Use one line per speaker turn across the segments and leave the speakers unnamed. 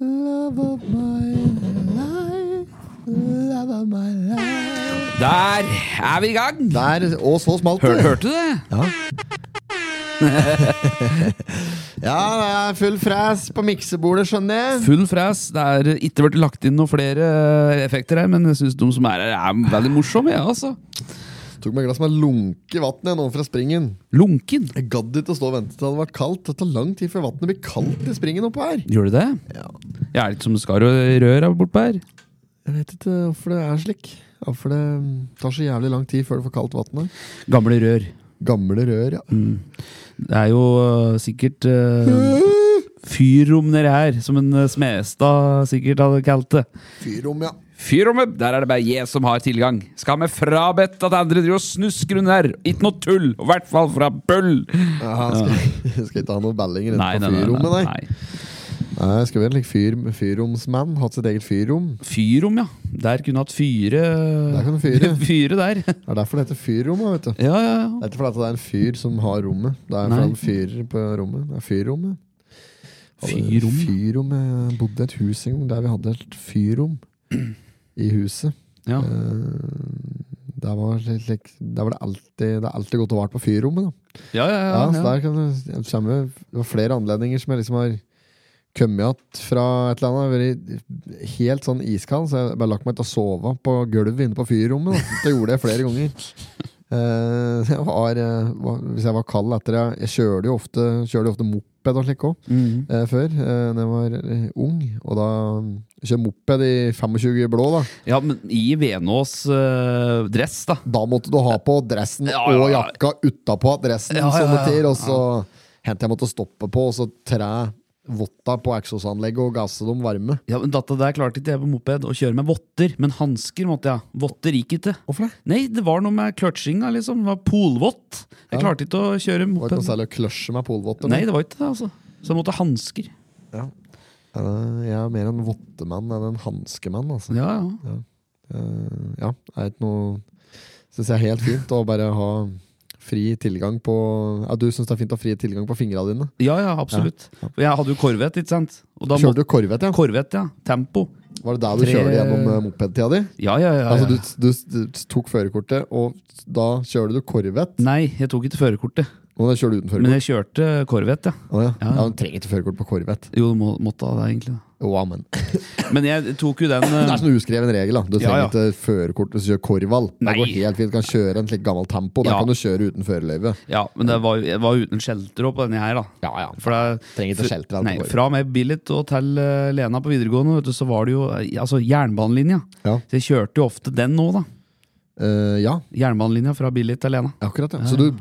Love of my life, love of my life.
Der er vi i gang!
Der, og så smalt
Hør,
det.
hørte du det?
Ja, det er full fres på miksebordet, skjønner jeg.
Full fres. Det er ikke blitt lagt inn noen flere eh, effekter her, men jeg syns de som er her, er veldig morsomme. Ja, altså.
Tok meg et glass med lunke vann jeg nå fra springen.
Lunken.
Jeg gadd ikke å stå og vente til det hadde vært kaldt. Det tar lang tid før vannet blir kaldt i springen oppå her.
Gjør du det?
Ja,
Jeg er litt som skar og rør her bortpå her.
jeg vet ikke hvorfor det er slik. Hvorfor det mm, tar så jævlig lang tid før du får kaldt vann her.
Gamle rør.
Gamle rør, ja.
Mm. Det er jo eh, sikkert eh, fyrrom nedi her, som en eh, Smestad sikkert hadde kalt det.
Fyrom, ja.
Fyrrommet, der er det bare jeg som har tilgang. Skal vi frabedt at andre driver og snusker under her? Ikke noe tull, i hvert fall fra Bøll.
Aha, skal, skal ikke ha noen bellinger
Nei,
inne
nei,
på
nei.
fyrrommet,
nei,
nei.
nei.
Nei, skulle vært like fyr, fyrromsmann, hatt sitt eget fyrrom.
Fyrrom, ja. Der kunne hatt fyre
Der kan du fyre.
Fyre der.
Det er derfor det heter fyrrom. da, vet du.
Ja, ja, ja.
Det er ikke fordi at det er en fyr som har rommet. Det er
Nei.
fordi han fyrer på rommet. Det er fyrrommet. Hadde
Fyrrom.
Fyrrom. Jeg bodde i et hus en gang der vi hadde et fyrrom i huset.
ja.
Eh, Der var, det slik- der var det alltid, det er alltid godt å være på fyrrommet. da.
Ja, ja, ja,
Ja, så
ja.
der kan du, det kommer, det var flere anledninger som jeg liksom har kommet igjen fra et eller annet. Jeg har vært helt sånn iskald, så jeg har bare lagt meg til å sove på gulvet inne på fyrrommet. da. Det gjorde jeg flere ganger. Eh, jeg var, eh, var, hvis jeg var kald etter det Jeg kjørte jo ofte, kjørte jo ofte moped og slikt òg
Mhm.
eh, før, eh, da jeg var eh, ung. Og da kjørte moped i 25 i blå, da.
ja, men i Venås eh, dress, da.
Da måtte du ha på dressen
Ja, ja,
og
ja.
jakka utapå dressen,
Ja, ja,
som det
ja,
betyr. Og så hendte jeg måtte stoppe på, og så tre votta på eksosanlegget og gasse dem varme.
Ja, men Dette der klarte ikke jeg på moped, å kjøre med votter. Men hansker måtte jeg ha. Votter gikk ikke.
Hvorfor det?
Nei, det var noe med kløtsjinga, liksom. Det var polvott. Jeg
Ja.
klarte ikke å kjøre
Det var ikke
moped.
noe særlig å kløsje med polvotter.
Nei, det var ikke det, altså. Så jeg måtte ha hansker.
eh, Jeg er mer en vottemann enn en hanskemann, altså.
Ja, ja.
Eh, ja, det er ikke noe Syns jeg er helt fint å bare ha fri tilgang på Ja, du syns det er fint å ha fri tilgang på fingra dine.
ja, ja absolutt. Og jeg hadde jo Corvette, ikke sant. Og da
Kjørte
måtte
du korvett, ja?
Corvette, ja. Tempo.
Var det der du
Tre-
kjørte gjennom eh, mopedtida di?
Ja, ja, ja. ja.
Altså, du, du, du tok førerkortet, og da kjører du korvett.
Nei, jeg tok ikke førerkortet.
Og da kjører du uten førerkort.
Men jeg kjørte Corvette, ja.
Å, ja.
Ja.
Ja. du trenger ikke førerkort på korvett.
Jo, du må, måtte ha det, egentlig.
Å, amen.
Men jeg tok jo den
Det er
eh,
sånn uskreven regel. da Du trenger
Ja, ja.
ikke førerkort hvis du kjører korval. Det
Nei.
går helt fint. Du kan kjøre en slik gammel tempo. Da
Ja.
kan du kjøre uten førerløyve.
Ja, men det var, jeg var uten shelter også på denne her, da.
Ja, ja.
For det,
Trenger ikke shelter, altså,
Nei,
Borg.
fra meg Billit og til eh, Lena på videregående, vet du, så var det jo eh, altså, jernbanelinja.
Ja.
Så jeg kjørte jo ofte den nå, da.
Eh, ja,
Jernbanelinja fra Billit til Lena.
akkurat. Ja. Så du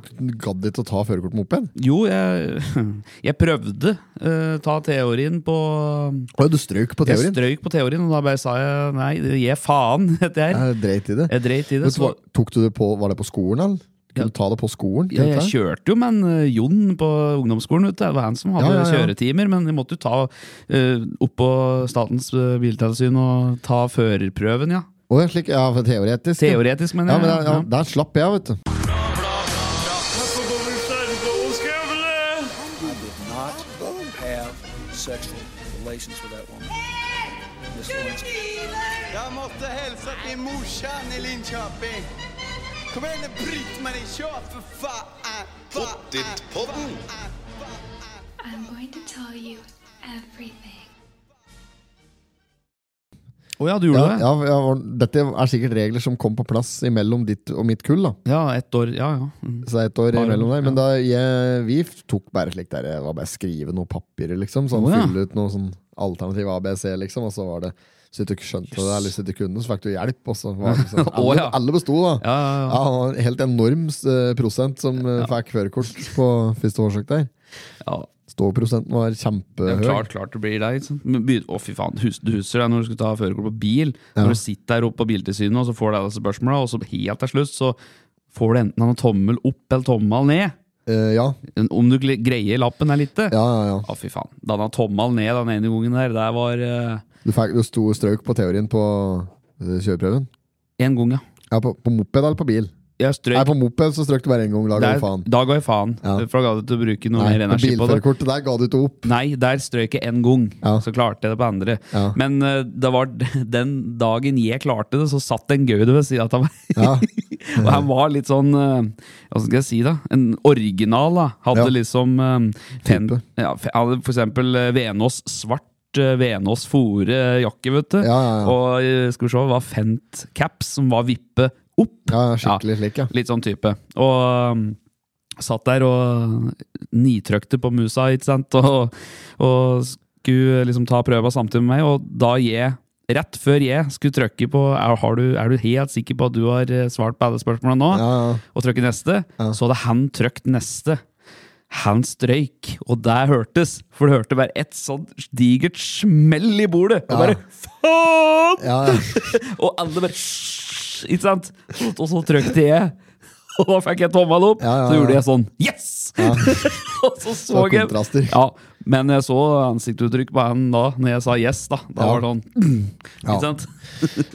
gadd ikke å ta førerkort på moped?
Jo, jeg, jeg prøvde eh, ta teorien på
Å ja, du strøk på
Jeg
teorien?
strøyk på teorien, og da bare sa jeg nei, det gir faen, heter jeg.
Jeg dreit i det.
Jeg dreit i det.
Vet du
Så,
hva, tok du det på, var det på skolen, eller?
Ja.
Kunne du ta det på skolen?
ja, jeg
tenkte jeg?
kjørte jo med en eh, Jon på ungdomsskolen. Vet du. Det var han som hadde
Ja, ja, ja.
kjøretimer, men jeg måtte jo ta eh, opp på Statens eh, biltilsyn og ta førerprøven, ja.
Å, ja, slik, ja, for teoretisk. ja.
Teoretisk, mener
Ja, men
jeg.
der, ja,
ja.
der slapp jeg, vet du.
not have sexual relations with that woman. Miss Lewinsky.
Jeg måtte hilse til morsan i Linköping. Kom igjen, Britt-Marie, kjør, for faen! Pottitpodden!
I'm going to tell you everything.
Å ja,
Ja,
du gjorde det?
ja, ja, og dette er sikkert regler som kom på plass imellom ditt og mitt kull. da
Ja, ett år. Ja, ja. Mm.
Så det er ett år
Par år,
imellom der. Men
ja.
da jeg, vi f- tok bare slik der Det var bare skrive noe papirer, liksom. Sånn,
Å, ja.
Fylle ut noe sånn alternativ ABC, liksom. Og så var det Så du ikke skjønte det, eller hvis du ikke kunne, så fikk du hjelp. Og så var det liksom, alle,
Å, ja.
alle besto, da.
Ja, ja, ja.
Ja, det var en helt enorm eh, prosent som eh, fikk førerkort på første forsøk der.
ja.
Ståprosenten var kjempehøy.
Ja, klart, klart det blir deg. ikke sant? Men begyn- Å, fy faen. Hus, du husker det når du skulle ta førerkort på bil. Når du sitter der oppe på Biltilsynet og så får du alle disse spørsmåla, og så helt til slutt så får du enten en tommel opp eller tommel ned.
Eh, ja,
En- Om du gre- greier lappen eh. eller
ja,
ikke.
ja, ja.
Å, fy faen. Da han tommel ned den ene gangen der, det var eh,
Du, fikk, du sto strøk på teorien på eh, kjøreprøven?
en gang, ja.
Ja, på, på moped eller på bil? Nei,
jeg strøk
på moped så strøk du bare én gang. Da
der,
går faen.
Da ga jeg faen.
Ja.
For da ga det til å bruke noe
Nei,
mer
på
energi på det.
bilførerkortet der ga du ikke opp.
Nei, der strøk jeg én gang.
Ja.
Så klarte jeg det på andre.
Ja.
Men eh, det var den dagen jeg klarte det, så satt en gaude ved sida av meg.
Ja.
Og han var litt sånn eh, Hva skal jeg si, da? En original, da. Hadde
Ja.
liksom eh, fen,
Type.
ja, fe- hadde For eksempel eh, Venås svart eh, Venås fore eh, jakke, vet du.
Ja, ja, ja.
Og eh, skal vi se, var Fent caps, som var vippe opp.
ja, skikkelig slik, ja.
Litt sånn type. Og um, satt der og nitrøkte på musa, ikke sant? Og, og skulle liksom ta prøva samtidig med meg, og da jeg Rett før jeg skulle trykke på er, har du, 'Er du helt sikker på at du har eh, svart på alle spørsmålene nå?'
Ja, ja.
og trykke neste, så hadde han trykt neste. Han strøyk, og det hørtes, for det hørte bare et sånt digert smell i bordet. Og bare faen!
Ja, ja.
Og alle bare «Shh!» Ikke sant? Og så trykte jeg. Og da fikk jeg tommel opp.
Ja, ja,
Så
ja.
gjorde jeg sånn. Yes! og så så
Så kontraster.
jeg ja, Men jeg så ansiktsuttrykk på han da Når jeg sa yes. da Da
Ja.
var det sånn.
Ja.
Ikke sant?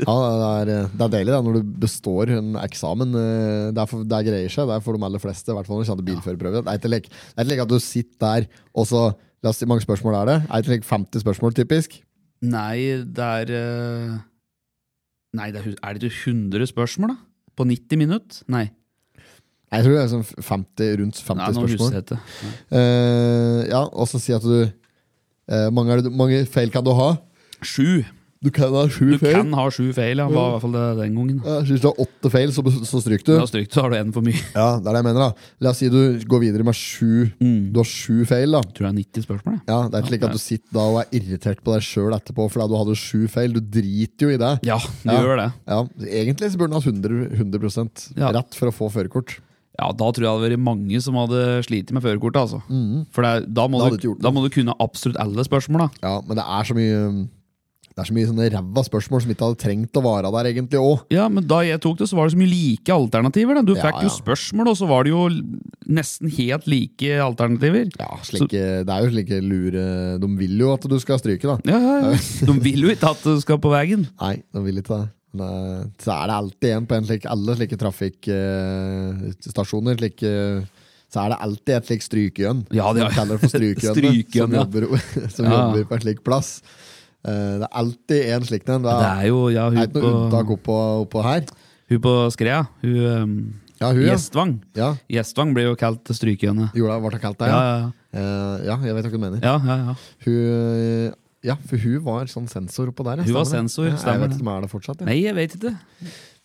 Ja, det er, eh, det er deilig da, når du består en eksamen. eh, Det, er for, det er greier seg. Det er for de aller fleste. I hvert fall når du kjenner bilførerprøve. Det er ikke lek, det er ikke lek at du sitter der og så La oss si mange spørsmål er det. Er ikke lek 50 spørsmål, typisk?
Nei, det er eh, Nei, det er, hu- er det ikke 100 spørsmål, da? På 90 minutter? Nei,
Nei, Jeg tror det er sånn 50, rundt 50
Nei nå husker
spørsmål.
jeg det.
Eh, ja, og så si at du eh, mange, er det, mange feil kan du ha?
Sju.
Du kan ha sju
Du
feil.
kan ha sju feil, ja. Var i hvert fall det den gangen.
Ja, Hvis du har åtte feil, så, så stryker du.
Da stryk, så har du én for mye.
Ja, det er det jeg mener da La oss si du går videre med sju Du har sju feil da
Mm. Tror jeg er 90 spørsmål, jeg.
ja, Det er ikke slik at du sitter da og er irritert på deg selv etterpå Fordi du hadde sju feil, du driter jo i det
Ja, du
Ja.
gjør det.
Ja, Egentlig så burde du ha 100%, 100%
Ja.
rett for å få førerkort.
Ja, Da tror jeg det hadde vært mange som hadde slitt med førerkortet. altså. For det, er- da,
Mhm.
må
Da hadde du ikke
du,
gjort
da må du kunne absolutt alle spørsmål. da.
Ja, men det er så mye um, Det er så mye sånne ræva spørsmål Som ikke hadde trengt å vare der egentlig også
Ja, men Da jeg tok det, så var det så mye like alternativer. da. Du
Ja,
fikk
ja.
jo spørsmål, og så var det jo nesten helt like alternativer.
ja, slike, Det er jo slike lure De vil jo at du skal stryke da
Ja, ja, ja. De vil jo ikke at du skal på veien.
Nei, de vil ikke det Men, eh, så er det alltid en på en slik, alle slike eh, trafikkstasjoner slike, eh, Så er det alltid et slik strykejønn.
Ja, det er-
Som kaller det for strykejønne.
Strykejønn,
som
ja.
jobber, som
Ja.
jobber på en slik plass. Eh, det er alltid en slik en. Det
Det
er,
er jo ja,
det er
hun,
ikke
på,
noe unntak oppå, oppå her.
hun på Skrea. Hun, ehm,
Ja, hun, ja.
Gjestvang.
ja.
Gjestvang blir jo kalt strykejønne.
Jola, hva det kalt det?
Ja,
Ja.
ja,
Eh, ja, jeg vet hva du mener.
ja. ja, ja, ja.
Hun, eh, ja, for hun var sånn sensor oppå der. ja,
Hun var
stemmer det?
sensor,
Ja, jeg
stemmer
vet
det.
ikke om hun er det fortsatt. Ja.
Nei, jeg vet ikke.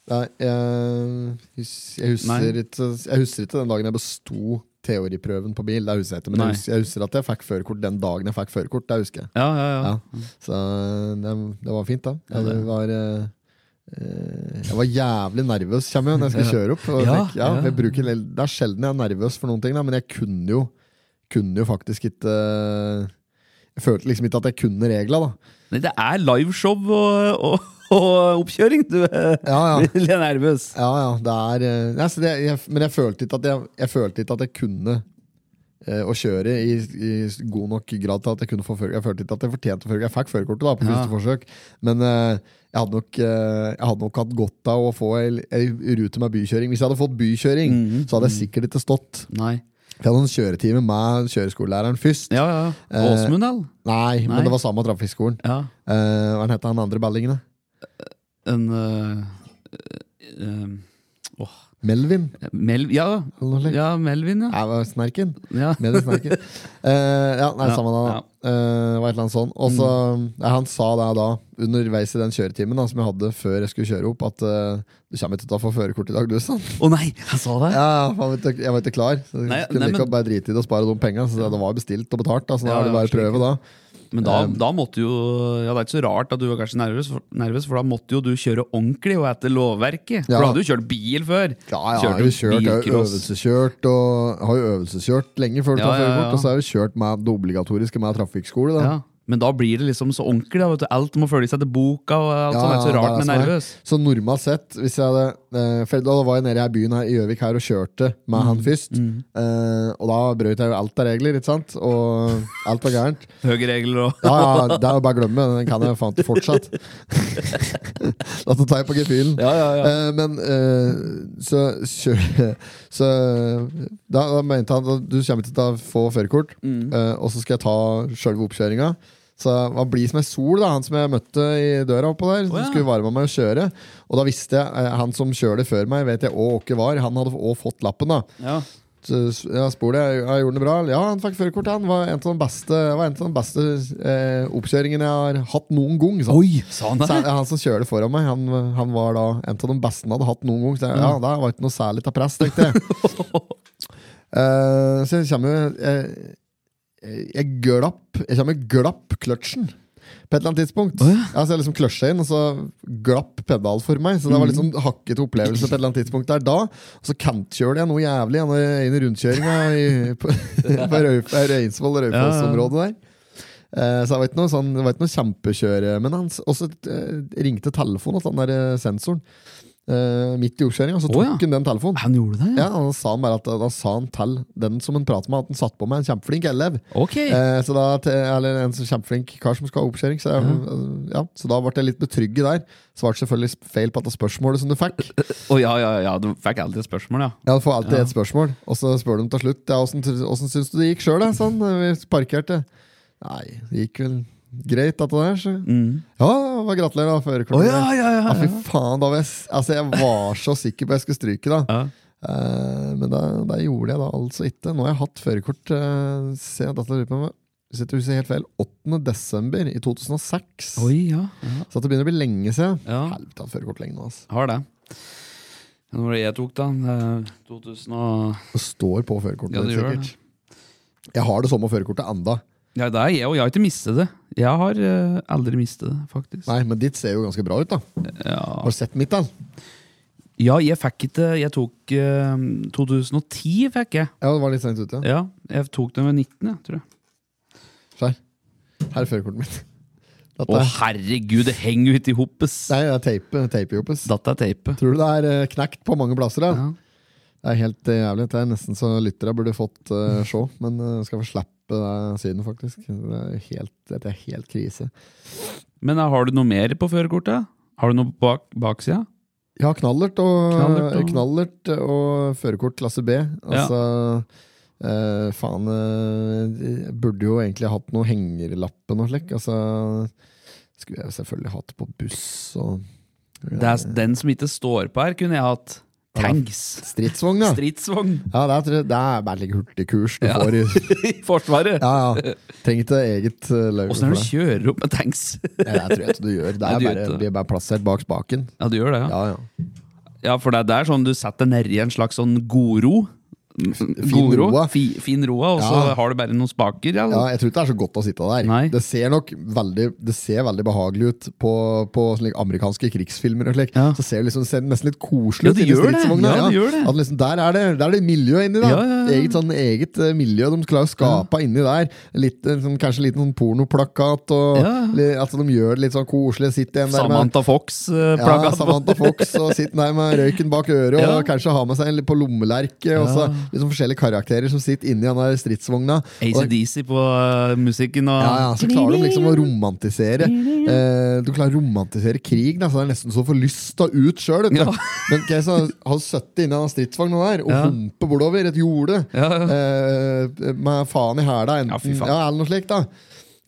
Nei, jeg, hus- jeg, husker
Nei.
ikke, jeg husker ikke den dagen jeg besto teoriprøven på bil. Det husker jeg ikke, men
Nei.
jeg husker, jeg husker at jeg fikk førerkort den dagen jeg fikk førerkort. Det husker jeg.
Ja, ja, ja.
Ja. Så det, det var fint, da.
Ja, det-
Jeg var, eh, eh, jeg var jævlig nervøs kommer jeg, når jeg skulle kjøre opp. Og
Ja,
fikk, ja,
ja.
jeg bruker, en del- det er sjelden jeg er nervøs for noen ting, da, men jeg kunne jo, kunne jo faktisk ikke eh, Jeg følte liksom ikke at jeg kunne regla, da.
Nei, det er liveshow og, og, og oppkjøring. Du er
Ja, ja.
litt nervøs.
Ja, ja, det er eh, nei, så det, jeg, Men jeg følte ikke at jeg, jeg, følte ikke at jeg kunne eh, å kjøre i, i god nok grad til at jeg kunne få førerkort. Jeg følte ikke at jeg fortjente førerkort. Jeg fikk førerkortet da, på første forsøk, men eh, jeg, hadde nok, eh, jeg hadde nok hatt godt av å få ei, ei rute med bykjøring. Hvis jeg hadde fått bykjøring,
Mhm.
så hadde jeg sikkert ikke stått.
Nei.
For jeg hadde en kjøretime med kjøreskolelæreren først.
Ja, ja.
Eh,
Åsmund, eller?
Nei,
Nei.
men det var samme trafikkskolen.
Ja.
Eh, hva het han andre ballingen, da?
En eh, eh, åh,
Melvin?
Mel, ja,
Eller noe slikt?
ja, Melvin, ja.
Nei, det var Snerken?
ja.
Med det snakket. Eh, ja, nei,
Ja, Mm.
samme da. da. Eh, det var et eller annet sånn. Og så nei, Han sa det da, underveis i den kjøretimen da, som jeg hadde før jeg skulle kjøre opp, at eh, du kommer ikke til å få førerkort i dag, du, sa han.
Å nei, jeg sa det!
Ja, faen, vet du, jeg var ikke klar. Så jeg
Nei,
kunne
nei,
like
men-
godt bare drite i det og spare de penga. Så det var bestilt og betalt, da, så da
Ja,
er det
ja,
bare å prøve, da.
Men da, da måtte jo Ja, det er ikke så rart at du var kanskje nervøs, for, nervøs, for da måtte jo du kjøre ordentlig og etter lovverket. For
Ja.
da hadde du kjørt bil før.
Ja, ja, jeg
Kjørte
har jo kjørt, jeg har jo
bilcross.
øvelseskjørt, og har jo øvelseskjørt lenge før du
Ja,
tar
ja, ja.
førerkort. Og så har jeg jo kjørt med det obligatoriske med trafikkskole, da.
Ja. Men da blir det liksom så ordentlig. Da, vet du. Alt må følges etter boka, og alt
Ja,
sånt. Det er
ja,
så
det
rart,
er
men
det som er.
nervøs.
Så normalt sett, hvis jeg hadde eh, for da var jeg nede i her byen her i Gjøvik her og kjørte med
Mm,
han først. Eh, og da brøt jeg jo alt av regler, ikke sant? Og alt var gærent.
Høyregler og
Ja, ja, det er jo bare å glemme. Den kan jeg faen ikke fortsatt. da tar jeg på gefühlen.
Ja, ja, ja.
Eh, men eh, så, kjør, så da, da mente han at du kommer ikke til å få førerkort,
Mm.
eh, og så skal jeg ta sjølve oppkjøringa. Så han blir som ei sol, da, han som jeg møtte i døra oppå der.
Å,
Som
ja.
skulle varme meg og kjøre. Og da visste jeg, eh, han som kjører det før meg, vet jeg òg hvem var. Han hadde òg fått lappen, da.
Ja.
Så jeg spurte jeg, jeg gjorde det bra. Ja, han fikk førerkort. Han var en av de beste, var en av de beste eh, oppkjøringene jeg har hatt noen gang. sa han.
Oi, sa han
Så
det?
han, han som kjører foran meg, han, han var da en av de beste han hadde hatt noen gang. Så jeg, ja,
Mm.
det var ikke noe særlig til press, tenkte jeg. Eh, så jeg kommer jo jeg, jeg glapp Jeg kommer glapp kløtsjen på et eller annet tidspunkt.
Å, ja.
ja. så jeg liksom kløtsja inn, og så glapp pedal for meg. Så det var litt
Mm.
sånn hakkete opplevelse på et eller annet tidspunkt der da. Og så kantkjører jeg noe jævlig igjen, eh, inn i rundkjøringa i- på, på Rau- Reinsvoll og Raufoss-området der. Eh, Så jeg vet noe, sånn, det var ikke noe kjempekjøre, men han s- også eh, ringte telefonen til den der eh, sensoren eh, midt i oppkjøringa, så
Å,
tok
ja.
han den telefonen.
Han gjorde det,
Ja, og da sa han bare at Da sa han til den som han pratet med, at han satt på med en kjempeflink elev.
Ok.
Eh, så da, til- eller en så kjempeflink kar som skal ha oppkjøring. Så, jeg, eh, ja, så da ble jeg litt betrygget der. Svarte selvfølgelig sp- feil på dette spørsmålet som du fikk.
Å ja, ja, ja, du fikk alltid et spørsmål, ja.
Ja, du får alltid ett spørsmål, og så spør de til slutt ja, åssen åssen syns du det gikk sjøl, da? Sånn, eh, vi parkerte. Nei, det gikk vel greit, dette der. Så. Ja, det var gratulerer, da. Førerkortet.
Mm. Å ja, ja, ja,
Ja, fy
ja.
faen, da var jeg, s- altså, jeg var så sikker på at jeg skulle stryke, da.
Ja.
Eh, men det, det gjorde jeg da altså ikke. Nå har jeg hatt førerkort eh, se, dette lurer jeg på om jeg- Hvis jeg ikke husker helt feil, 8. desember i 2006.
Oi, ja. ja.
Så det begynner å bli lenge siden.
Ja.
Helvete, jeg har hatt førerkort lenge nå. Altså.
Har det. Når var det jeg tok, da? Eh, 2000 og...
Det står på førerkortet.
Ja, det
mitt,
gjør
sikkert. Jeg har det samme førerkortet enda.
Ja, det er jeg, og jeg har ikke mistet det. Jeg har eh, aldri mistet det, faktisk.
Nei, men ditt ser jo ganske bra ut, da.
Ja.
Har du sett mitt, da?
Ja, jeg fikk ikke Jeg tok eh, 2010 fikk jeg.
Ja, det var litt sent ute.
Ja, jeg tok den ved 19, jeg, tror jeg.
Skjær. Her er førerkortet mitt. Dette
Å,
er,
herregud, det henger jo ikke i hopes!
nei, det er teipe, teipejoppes.
Dette er teipe.
Tror du det er eh, knekt på mange plasser? Da?
Ja.
Det er helt eh, jævlig. Det er nesten så lyttere burde fått eh, se, men eh, skal få slippe det synet, faktisk. Det er helt, dette er helt krise.
Men eh, har du noe mer på førerkortet? Har du noe på bak, baksida?
Ja, knallert og,
Knallert og-
knallert og førerkort klasse B. Altså eh, Faen, eh, jeg burde jo egentlig hatt noe hengerlappen og slik. Altså, skulle jeg jo selvfølgelig hatt på buss og
Det er s- den som ikke står på her, kunne jeg hatt. Tanks!
stridsvogn, ja.
Stridsvogn
ja det, er, tror jeg- det er bare litt hurtigkurs du
Ja.
får i
i Forsvaret!
Ja, ja. Trenger ikke eget eh, løyve for
Åssen er
det.
det du kjører opp med tanks?
Nei, Det tror jeg ikke du gjør. Det
Nei,
er
du gjør
bare,
ikke det.
blir bare plassert bak spaken.
Ja, du gjør det, ja.
Ja, ja.
Ja, for det er der sånn du setter nedi en slags sånn godro. Fin
roa.
Fi, fin roa, og så
Ja.
har du bare noen spaker. Ja.
ja, Jeg tror ikke det er så godt å sitte der.
Nei.
Det ser nok veldig Det ser veldig behagelig ut på, på slik amerikanske krigsfilmer. og slik
Ja.
Så ser det, liksom, ser det nesten litt koselig
Ja,
ut
det
inni
gjør det.
stridsvogna.
Ja, det gjør det.
At liksom, der, er det, der er det miljø inni, da.
Ja, ja, ja.
Eget, sånn, eget eh, miljø de klarer å skape inni der. Litt, eh, sånn, kanskje en liten sånn pornoplakat. Og,
Ja.
li- At de gjør det litt sånn koselig. Sitter en der med
Samantha
Ja,
eh, Fox-plaggat.
Samantha Fox og sitter der med røyken bak øret
Ja.
og kanskje har med seg en litt på lommelerket. Og så
Ja.
liksom forskjellige karakterer som sitter inni den der stridsvogna. Og-
ACDC på eh, musikken og
Ja, ja, så klarer de liksom å romantisere eh, Du klarer å romantisere krig, da, så det er nesten så du får lyst til å ut sjøl.
Ja.
Men okay, så har du sittet inni den stridsvogna der og
Ja.
humper bortover et jorde
Ja, ja.
eh, med faen i hæla,
Ja,
enten
fy
ja,
faen.
eller noe slikt. da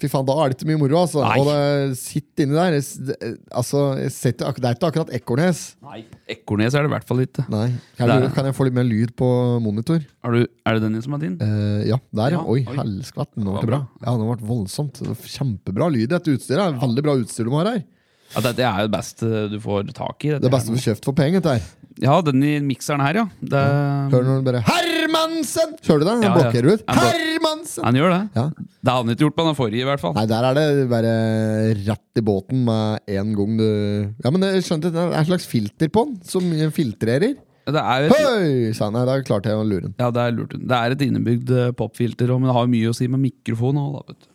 Fy faen, Da er det ikke mye moro. altså
Nei.
Og det sitter inni der. det- Altså, jeg setter, ak- det er ikke akkurat Ekornes.
Nei, Ekornes er det i hvert fall ikke.
Nei. Kan,
Der,
du,
ja.
kan jeg få litt mer lyd på monitor?
Er, du, er det den som er din?
Eh, ja, der, ja.
Ja,
Oi,
oi.
helskvatt. Den
var
ble bra. Ja, den ble voldsomt. Kjempebra lyd i dette utstyret. Det er Veldig bra utstyr de har her.
Ja, dette er jo det beste du får tak i. dette
Det beste
her
du
nå.
får kjøpt for penger. dette her.
Ja, den i mikseren her, ja. Det,
Hører du når den bare Hermansen! Hører du det? Den
Ja, ja.
blokkerer ut.
Den blok-
Hermansen!
Han gjør det.
Ja.
Det hadde han ikke gjort på den forrige, i hvert fall.
Nei, der er det bare rett i båten med en gang du Ja, men jeg skjønte det er en slags filter på den, som filtrerer.
Det er jo et,
Høy! Sa han. Nei, da klarte jeg å lure den.
ja, det er lurt. Det er et innebygd eh, popfilter, og- men det har jo mye å si med mikrofon òg, da, vet du.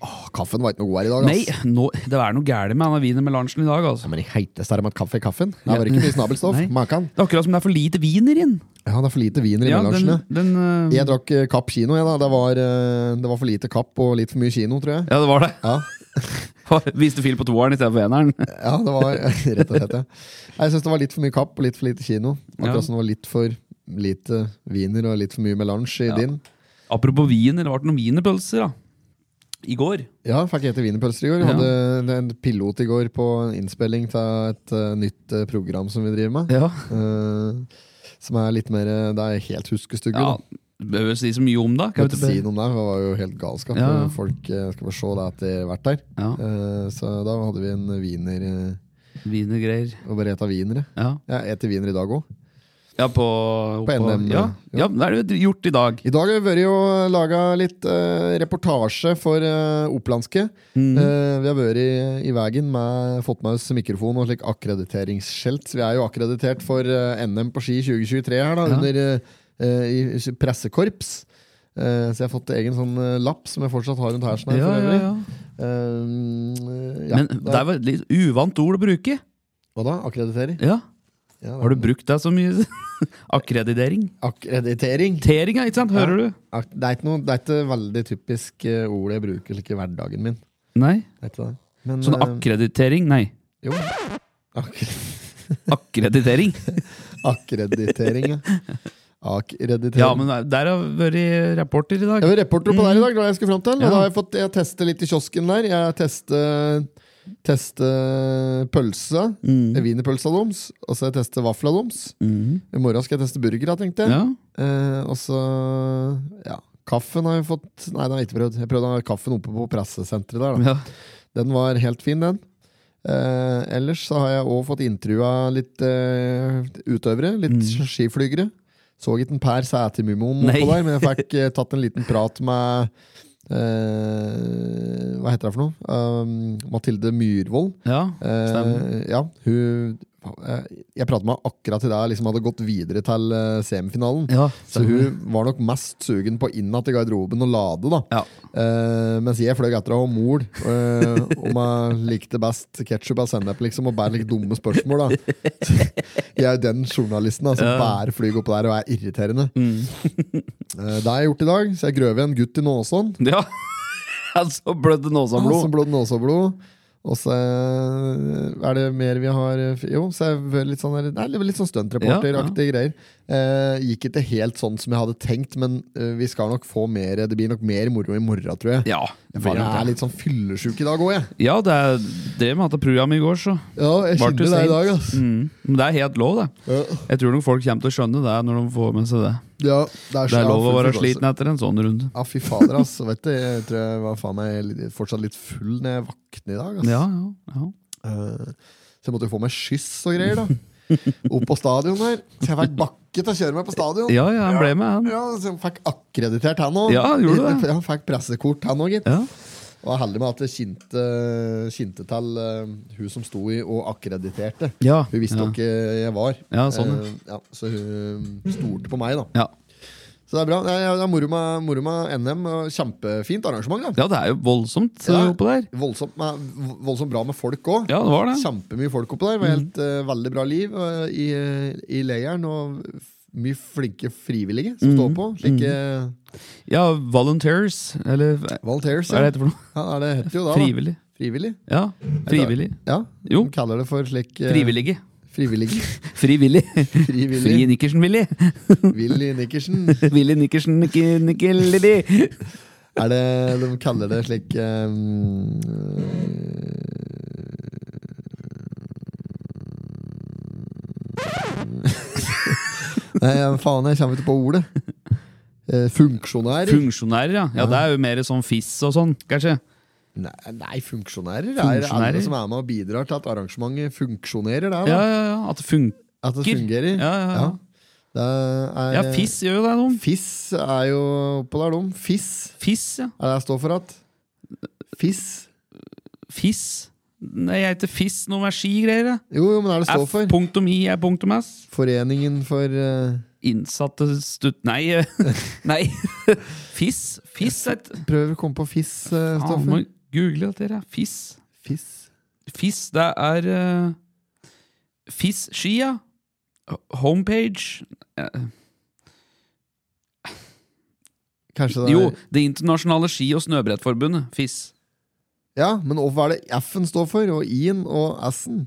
Åh, kaffen var ikke noe god her i dag, ass.
Nei, nå, det er noe gærent med denne vinen med Larnsen i dag.
Ja,
altså.
men i heiteste er det med at kaffe i kaffen. Det var ikke mye snabelstoff.
Nei.
Makan.
Det er akkurat som det er for lite viner inn.
Ja, det er for lite viner i
Ja, den,
melangen.
den, eh,
Jeg drakk eh, Kapp kino, jeg, da. Det var, eh, det var for lite Kapp og litt for mye kino, tror jeg.
ja, det var det.
Ja,
Viste fil på toeren istedenfor eneren.
ja det var rett og slett, ja. Nei, Jeg syns det var litt for mye Kapp og litt for lite kino.
Ja.
Akkurat som det var litt for lite viner og litt for mye melange i
Ja.
din.
Apropos viner, det ble noen wienerpølser da. i går.
Ja, fikk hete wienerpølser i går. Vi
Ja.
hadde en- en pilot i går på en innspilling av et eh, nytt eh, program som vi driver med.
Ja.
Eh, som er litt mer eh, Det er helt huskestugge. da.
Behøver vi si så mye om det?
Kan ikke si noe om det, for det var jo helt galskap.
Ja, ja.
Folk eh, skal få se det etter hvert der.
Ja,
Eh, Så da hadde vi en wiener eh,
Wienergreier.
og bare et av wienere.
Ja.
Jeg eter wiener i dag òg.
ja, på,
På NM,
Ja.
ja.
ja, det er det gjort i dag.
I dag har vi vært og laga litt eh, reportasje for eh, Opplandske.
Mm.
Eh, vi har vært i, i veien med fått med oss mikrofon og slik akkrediteringsskjelt. Så Vi er jo akkreditert for eh, NM på ski 2023 her, da,
Ja.
under eh, eh, i pressekorps. Eh, så jeg har fått egen sånn eh, lapp som jeg fortsatt har rundt hersen. Her,
Ja,
for
ja,
øvrig.
ja.
Eh, ja,
Men
det
det
er-
var et litt uvant ord å bruke.
Hva da? Akkreditering?
Ja.
Ja, det
Har
er-
du brukt deg så mye? Akkreditering.
Akkreditering?
Teringa, ikke sant? Hører du?
Ak det, er ikke noe, det er ikke veldig typisk eh, ord jeg bruker slik i hverdagen min.
Nei.
Det er ikke det. Men,
Sånn
eh,
akkreditering? Nei.
jo. Ak
Akkreditering.
akkreditering, ja. Akkreditering.
Ja, men der har jeg vært reporter i dag.
Jeg var reporter på der i dag, det var det jeg skulle fram til.
Ja.
Og da har jeg fått jeg testet litt i kiosken der. Jeg testet testet pølse.
Mm.
Wienerpølsa deres. Og så har jeg testet vafla deres.
Mm.
I morgen skal jeg teste burgere, tenkte jeg.
Ja.
Eh, og så ja. Kaffen har jeg fått Nei, den har jeg ikke prøvd. Jeg prøvde kaffen oppe på pressesenteret der. da
ja.
Den var helt fin, den. Eh, ellers så har jeg òg fått intervjua litt eh, utøvere. Litt skiflygere. Så ikke en Per Sætermummoen
Mm. Nei.
oppå der, men jeg fikk eh, tatt en liten prat med eh, Hva heter det for noe? Um, Mathilde Myrvold.
ja.
Eh,
Stemmer.
ja, hun eh, Jeg pratet med henne akkurat til det liksom hadde gått videre til eh, semifinalen.
ja.
Så hun var nok mest sugen på inn igjen til garderoben og lade, da.
Ja.
Eh, mens jeg fløy etter henne og mol eh, om jeg likte best ketsjup og sennep, liksom, og bare like dumme spørsmål, da. Jeg er jo den journalisten da, som
Ja. Mm.
bare flyr oppå der og er irriterende. Eh, det har jeg gjort i dag, så jeg grøv en gutt i Nåsån.
Ja. Så blødde
Ja,
nåsablod.
Som Ah, blod nåsablod. Og så eh, er det mer vi har eh, Jo, så er det litt sånn, der- nei, det er litt sånn stuntreporteraktige greier. Eh, gikk ikke helt sånn som jeg hadde tenkt, men eh, vi skal nok få mer Det blir nok mer moro i morgen, tror jeg.
Ja. Det
For
blir
jeg
nok
er
det.
litt sånn fyllesjuk i dag òg, jeg.
ja, det er drev med dette programmet i går, så.
Ja, jeg
Var
kjenner
det jo
det i
sent?
dag, ass.
Mm. Men det er helt lov, det.
Ja,
Jeg tror nok folk kommer til å skjønne det når de får med seg det.
ja, det, er
Det
så-
er lov å
ja,
være
fy-
sliten etter en sånn runde.
Ja, fy fader, ass. Vet du, jeg tror jeg var faen meg litt- fortsatt litt full når jeg våkner i dag. ass.
Ja, ja, ja.
Eh, Så jeg måtte jo få meg skyss og greier, da. Opp på stadion der. Så jeg fikk bakke til å kjøre meg på stadion.
Ja, ja, han ble med, han.
Ja, så jeg fikk akkreditert han òg.
Ja, gjorde du det?
Jeg fikk pressekort, han òg, gitt.
Ja.
Og jeg er heldig med at det kjente, kjente til eh, hun som sto i og akkrediterte.
Ja,
Hun visste jo
ja.
ikke jeg var.
Ja, sånn,
Eh, ja, så hun eh, stolte på meg, da.
Ja.
Så det er bra. Det er, det er moro, med, moro med NM. og Kjempefint arrangement. da
ja, det er jo voldsomt eh,
Ja.
oppå der.
Voldsomt, med, voldsomt bra med folk òg.
Ja, Mm. det var det.
Kjempemye folk oppå der. Det var helt eh, Veldig bra liv eh, i, i leiren. Og f- mye flinke frivillige
Mm.
som står på. Slike
Ja, Volunteers, eller hva
volunteers.
er det
Ja.
heter for noe?
Ja, det heter jo da, da.
Frivillig.
Frivillig.
Ja, frivillig.
Ja,
Jo.
De kaller det for slik eh,
Frivillige.
Frivillige.
Frivillig. Fri
Frivillig.
Nikkersen-Willy.
Willy Nikkersen.
Willy Nikkersen, Nikki- Nikki Lilly.
Er det De kaller det slik eh, Nei, faen, jeg kommer ikke på ordet. Eh, funksjonærer.
Funksjonærer, ja. ja. Det er jo mer sånn fiss og sånn, kanskje.
Nei, nei funksjonærer, er
Funksjonærer?
alle som er med og bidrar til at arrangementet funksjonerer. Det, er
Ja,
da.
ja, ja. At det funker.
At det fungerer.
Ja, ja, ja.
Det er,
Ja, eh, fiss gjør jo det, de.
Fiss er jo oppå der, de. Fiss.
Fiss, ja.
Er det jeg står for at? Fiss.
Fiss. Nei, jeg heter Fiss noe med skigreier. jeg.
Jo, jo, men det er det står for.
F.I er punktum S.
Foreningen for eh,
innsatte stutt... Nei, nei. Fiss. Fiss er et
Prøv å komme på fiss, eh,
Faen,
Stoffer.
må google dette her. ja. Fiss.
Fiss.
Fiss, det er eh, Fiss-skia. Homepage.
Kanskje det er
Jo, Det internasjonale ski- og snøbrettforbundet. Fiss.
Ja, men og hva er det F-en står for? Og I-en og S-en?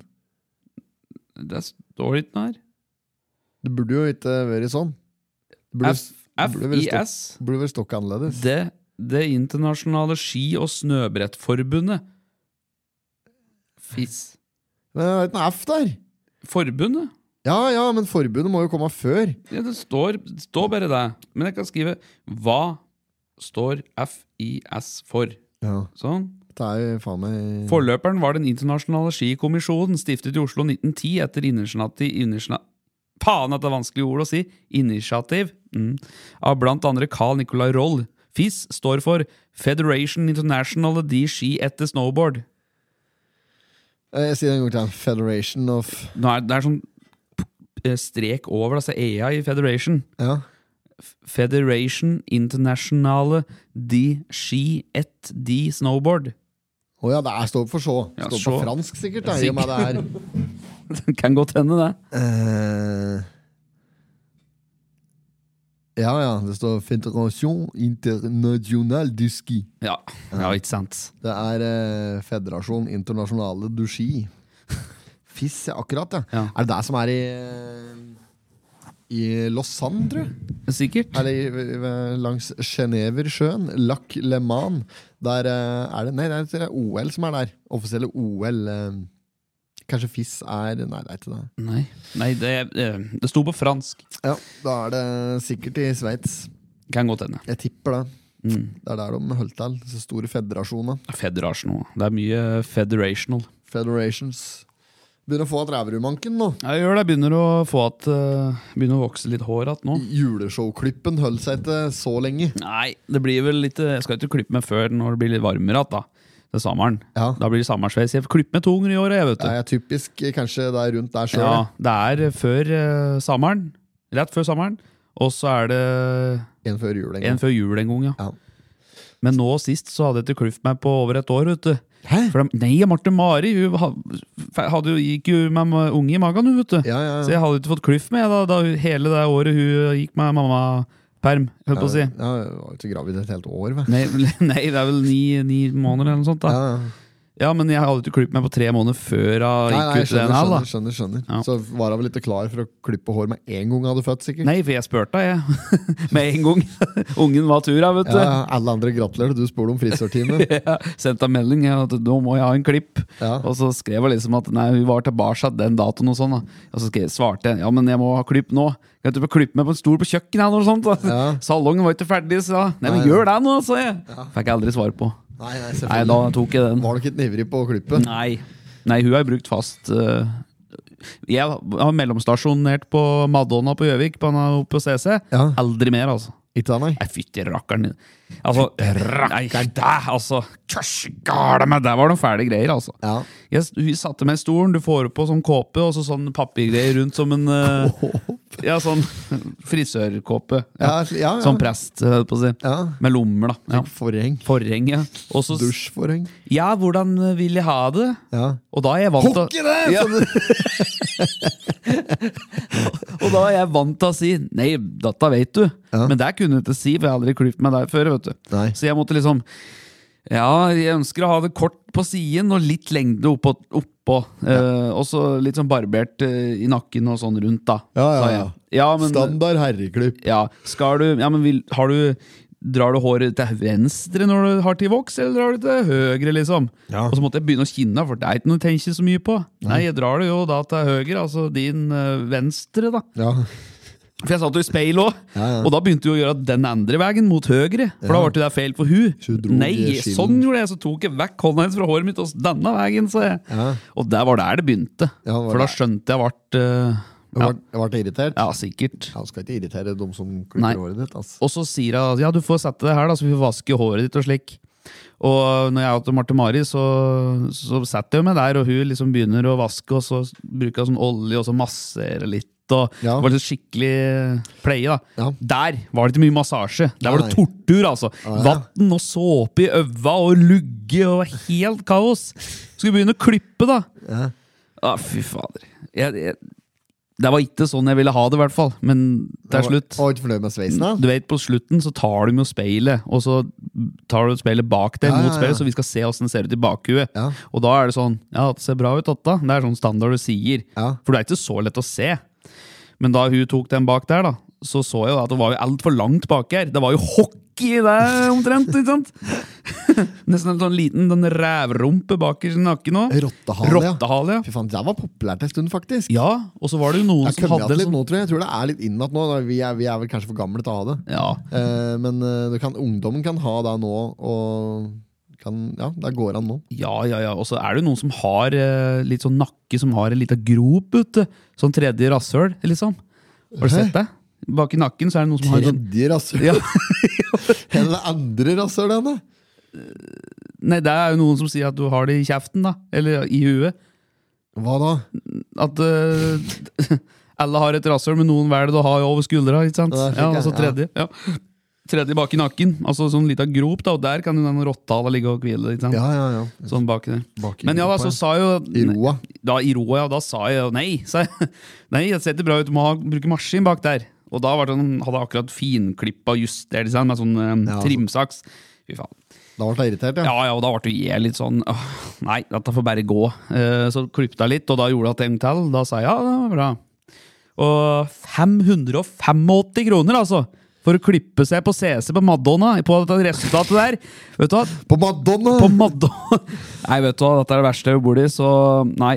Det står ikke noe her.
Det burde jo ikke vært sånn. Det burde- burde vært stokk-
FIS.
Burde vært stokk annerledes.
Det, det internasjonale ski- og snøbrettforbundet. Fiss.
Men det er ikke noe F der!
Forbundet?
Ja ja, men forbundet må jo komme før.
Ja, det står, det står bare det. Men jeg kan skrive Hva står FIS for?
Ja,
Sånn.
Det er jo faen meg
Forløperen var Den internasjonale skikommisjonen, stiftet i Oslo 1910 etter initiativ initiativ- Faen at det er vanskelige ord å si! Initiativ mm. av blant andre Carl Nicolai Roll. FIS står for Federation International de Ski etter Snowboard.
Eh, Jeg sier det en gang til. Federation of
Nå er, det er sånn eh, strek over, altså EA i Federation.
Ja.
Federation Internationale de Ski et de Snowboard.
Å ja, det er står for så.
Ja,
står på
så.
fransk, sikkert. Da, i og med det er
Det kan godt hende, det.
Eh, Ja ja, det står Federation Internationale du Ski.
Ja, ja ikke sant.
Det er eh, Federasjon Internasjonale du Ski. Fiss, ja, akkurat, ja.
Ja.
Er det det som er i eh, I Lausanne, tror jeg?
Sikkert.
Eller i- i- langs Geneversjøen, Lac Le Mans. Der eh, er det Nei, det er OL som er der. Offisielle OL. eh, Kanskje FIS er Nei, det er ikke det.
Nei, Nei det, eh, det sto på fransk.
Ja, Da er det sikkert i Sveits.
Kan godt hende.
Jeg tipper det.
Mm.
Det er der de holder til, disse store federasjonene.
Federation òg. Det er mye federational.
Federations. Begynner å få at ræverudmanken nå.
Jeg gjør det. Jeg begynner å få at eh, Begynner å vokse litt hår igjen nå.
Juleshowklippen holdt seg ikke så lenge.
Nei, det blir vel litt eh, Jeg skal ikke klippe meg før når det blir litt varmere igjen, da. Til sommeren.
Ja.
Da blir det sommersveis. Jeg klipper meg to ganger i året, jeg, vet du.
Det er typisk eh, kanskje det er rundt der sjøl.
Ja, det er før eh, sommeren. Rett før sommeren. Og så er det
En før jul en gang.
en før jul en gang, ja.
Ja.
Men nå sist så hadde jeg ikke klippet meg på over et år, vet du.
Hæ?
For de, nei, Marte Mari hun ha- fe- hadde, jo- gikk jo med ma- unge i magen, hun, vet du.
Ja, ja, ja.
Så jeg hadde ikke fått klyft med da, da hun- hele det året hun eh, gikk med mammaperm, holdt på å si.
Ja, jeg var jo ikke gravid et helt år, vel.
Nei, nei, det er vel ni, ni måneder eller noe sånt.
Ja,
da.
ja.
Ja, men jeg hadde ikke klippet meg på tre måneder før
Nei,
hun
nei,
gikk ut den
skjønner,
her. da.
skjønner, skjønner, skjønner.
Ja.
Så var hun vel ikke klar for å klippe hår med en gang hun hadde født, sikkert.
Nei, for jeg spurte jeg. med en gang. Ungen var tura, vet du.
Ja, alle andre gratulerer, du spurte om frisørtime.
Jeg sendte en melding ja, at nå må jeg ha en klipp.
Ja.
Og så skrev hun liksom at nei, hun var tilbake den datoen. Og sånn da Og så skrev, svarte jeg ja, men jeg må ha klipp nå. Kan du ikke klippe meg på en stol på kjøkkenet? Eller noe sånt da
Ja.
Salongen var ikke ferdig, sa jeg. Nei, men
Nei,
gjør det nå, sa jeg. Fikk jeg aldri svar på.
Nei, nei,
Nei, da tok jeg den.
Var du ikke litt ivrig på å klippe?
Nei, nei hun har brukt fast eh, Jeg har mellomstasjonert på Madonna på Gjøvik, på, på CC.
Ja.
E Aldri mer, altså.
Ikke da, nei.
Nei, fytti rakkeren. Altså, rakkeren deg, altså. Kjørs gale meg, der var noen fæle greier, altså.
Ja.
Jeg, hun satte meg i stolen, du får på sånn kåpe og så sånn papirgreier rundt som en eh, Ja, sånn frisørkåpe. Ja.
Ja, ja, ja.
Som prest, eh, holdt på å si.
Ja.
Med lommer, da. Ja.
Forheng.
Forheng, ja. Og så s-
Dusjforheng.
Ja, hvordan vil jeg ha det?
Ja.
Og da er jeg vant til å-
Pokker det!
Ja.
som du-
Og da er jeg vant til å si Nei, dette vet du
Ja.
Men det kunne jeg ikke si, for jeg har aldri klippet meg der før vet du.
Nei.
Så jeg måtte liksom Ja, jeg ønsker å ha det kort på siden Og litt lengde oppå, oppå eh, Og så litt sånn barbert eh, I nakken og sånn rundt da
Ja, ja,
sa
ja.
jeg. ja, men,
Standard herreklipp.
ja, skal du Ja, men vil, har du Drar du håret til venstre når du har til voks Eller drar du til høyre liksom
Ja.
Og så måtte jeg begynne å kinne For det er ikke noe å tenke så mye på Nei, jeg drar det jo da til høyre Altså din eh, venstre da
Ja.
for jeg satt jo i speil òg,
Ja, ja.
og da begynte hun å gjøre den andre veien, mot høyre. For da ble det feil for hun.
Så hun dro
Nei,
i skillen.
sånn gjorde jeg, så tok jeg vekk hånda hennes fra håret mitt, og s- denne veien, sa jeg.
Ja.
Og der var der det begynte.
Ja, det var
for da
der.
skjønte jeg ble
Jeg
ja,
ble, jeg ble irritert.
ja, sikkert.
Ja, du skal ikke irritere dem som
Nei.
klipper håret ditt. Altså.
Og så sier hun ja, du får sette det her, da, så vi får vaske håret ditt og slik. Og når jeg er til Marte Mari, så, så setter jeg meg der, og hun liksom begynner å vaske, og så bruker hun sånn olje, og så masserer litt. og
Ja.
det var liksom skikkelig pleie. da.
Ja.
Der var det ikke mye massasje. Der var det
Nei.
tortur, altså.
Ja, ja.
Vann og såpe i øva og lugge og helt kaos. Skulle begynne å klippe, da.
Ja.
Ja, fy fader. Jeg, jeg, det var ikke sånn jeg ville ha det, i hvert fall. Men til slutt
Og ikke fornøyd med sveisen, da?
du vet, På slutten så tar de jo speilet, og så tar du speilet bak deg,
Ja, ja,
mot
ja.
speilet, så vi skal se åssen det ser ut i bakhuet.
Ja.
Og da er det sånn Ja, det ser bra ut, Atta. Det er sånn standard du sier.
Ja.
For det er ikke så lett å se. Men da hun tok den bak der, da, så så jeg jo at det var jo altfor langt bak her. Det var jo hockey der, omtrent. ikke sant? Nesten en sånn liten den rævrumpe bakerst i nakken òg.
Rottehale, ja.
Rottehale, ja.
Fy faen, det var populært en stund, faktisk.
Ja, og så var det jo noen
Jeg
som
har
hadde
kommet
en
litt
sånn
nå, tror jeg. Jeg tror det er litt innat nå. da. Vi er, vi er vel kanskje for gamle til å ha det.
ja.
Eh, men eh, du kan, ungdommen kan ha det nå, og kan, ja, det går an nå.
ja, ja, ja. Og så er det jo noen som har eh, litt sånn nakke som har en lita grop ute. Sånn tredje rasshøl, liksom. Har du sett det? Bak i nakken så er det noen som har en sånn
Tredje rasshøl?
ja.
Eller det andre rasshølet henne?
Nei, det er jo noen som sier at du har det i kjeften, da. Eller i huet.
Hva da?
At eh, alle har et rasshøl, men noen velger det å ha over skuldra. ikke sant?
Ja, slik,
Ja, og så
ja.
tredje. Ja. Tredje bak i nakken. Altså sånn lita grop, da, og der kan jo den rottehalen ligge og hvile. ikke sant?
Ja, ja, ja.
Sånn bak der.
Bak i
Men ja da,
rumpa, ja.
så sa jo
I roa.
da, I roa, ja, da sa jeg jo nei. Sa jeg. Nei, det ser ikke bra ut, du må ha, bruke maskin bak der. Og da var det sånn, hadde jeg akkurat finklippa og justert seg med sånn eh,
Ja, altså.
trimsaks. Fy faen.
Da ble jeg irritert, ja.
Ja, ja, og da ble jo jeg litt sånn åh, Nei, dette får bare gå. Eh, så klippet jeg litt, og da gjorde jeg at en til. Da sa jeg ja, det var bra. Og 585 kroner, altså! For å klippe seg på CC på Madonna, på dette resultatet der. Vet du hva?
På Madonna!
På Madonna Nei, vet du hva, dette er det verste jeg bor i, så nei.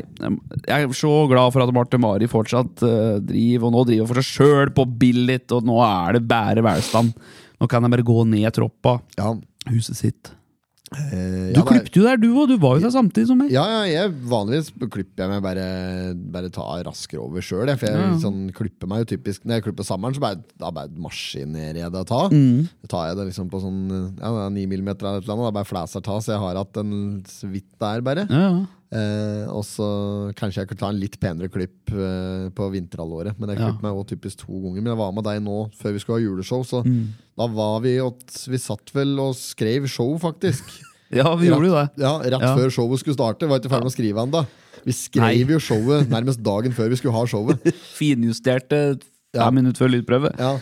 Jeg er så glad for at Marte Mari fortsatt eh, driver, og nå driver for seg sjøl på Billit, og nå er det bare velstand. Nå kan jeg bare gå ned troppa.
ja.
Huset sitt.
eh,
Du
ja, det er-
klippte jo der, du òg. Du var jo der samtidig som meg.
Ja, ja, jeg, vanligvis klipper jeg meg bare, bare ta raskere over sjøl. For jeg
Ja.
sånn, klipper meg jo typisk Når jeg klipper sommeren, så bare, da bare maskinerer jeg det å ta.
Mm.
Da tar jeg det liksom på sånn ja, det er 9 mm eller et eller annet. Da bare flæser ta, så jeg har hatt en så vidt der, bare.
Ja, ja.
Eh, og så kanskje jeg kunne ta en litt penere klipp eh, på vinterhalvåret. Men jeg
Ja.
klipper meg også typisk to ganger. Men jeg var med deg nå før vi skulle ha juleshow, så
Mm.
da var vi åt Vi satt vel og skrev show, faktisk.
ja vi gjorde jo det.
Ja, Rett
Ja.
før showet skulle starte. Var ikke ferdig med å skrive ennå. Vi skrev
Nei.
jo showet nærmest dagen før vi skulle ha showet.
Finjusterte fem
Ja.
minutter før lydprøve.
Ja.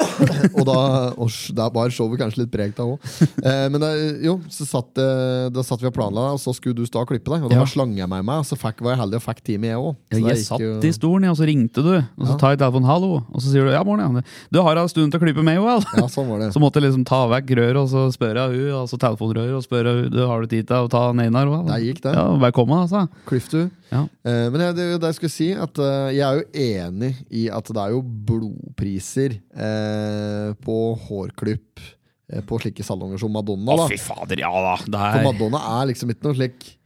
og da og sj- Der bar showet kanskje litt preg av òg. Eh, men da, jo, så satt, eh, da satt vi og planla, og så skulle du stå og klippe deg. Og da
Ja.
bare slang jeg meg med, og så fikk, var jeg heldig og fikk time, jeg òg.
Ja, jeg satt i stolen, ja, og så ringte du. Og så tar jeg telefonen 'hallo', og så sier du 'ja, morgen', ja. Du har en stund til å klippe meg òg,
Ja, sånn var det.
Så måtte jeg liksom ta vekk røret og så spørre hun, altså telefonrøret, og spørre hun, du har du tid til å ta den ene her også?
Der gikk det.
Ja, velkommen altså.
Cliff, du.
Ja.
Eh, men jeg, det, det jeg skulle si at eh, jeg er jo enig i at det er jo blodpriser eh, på hårklipp eh, på slike salonger som Madonna.
Å
da.
fy fader, ja da. Det
For
er...
Madonna er liksom ikke noe slik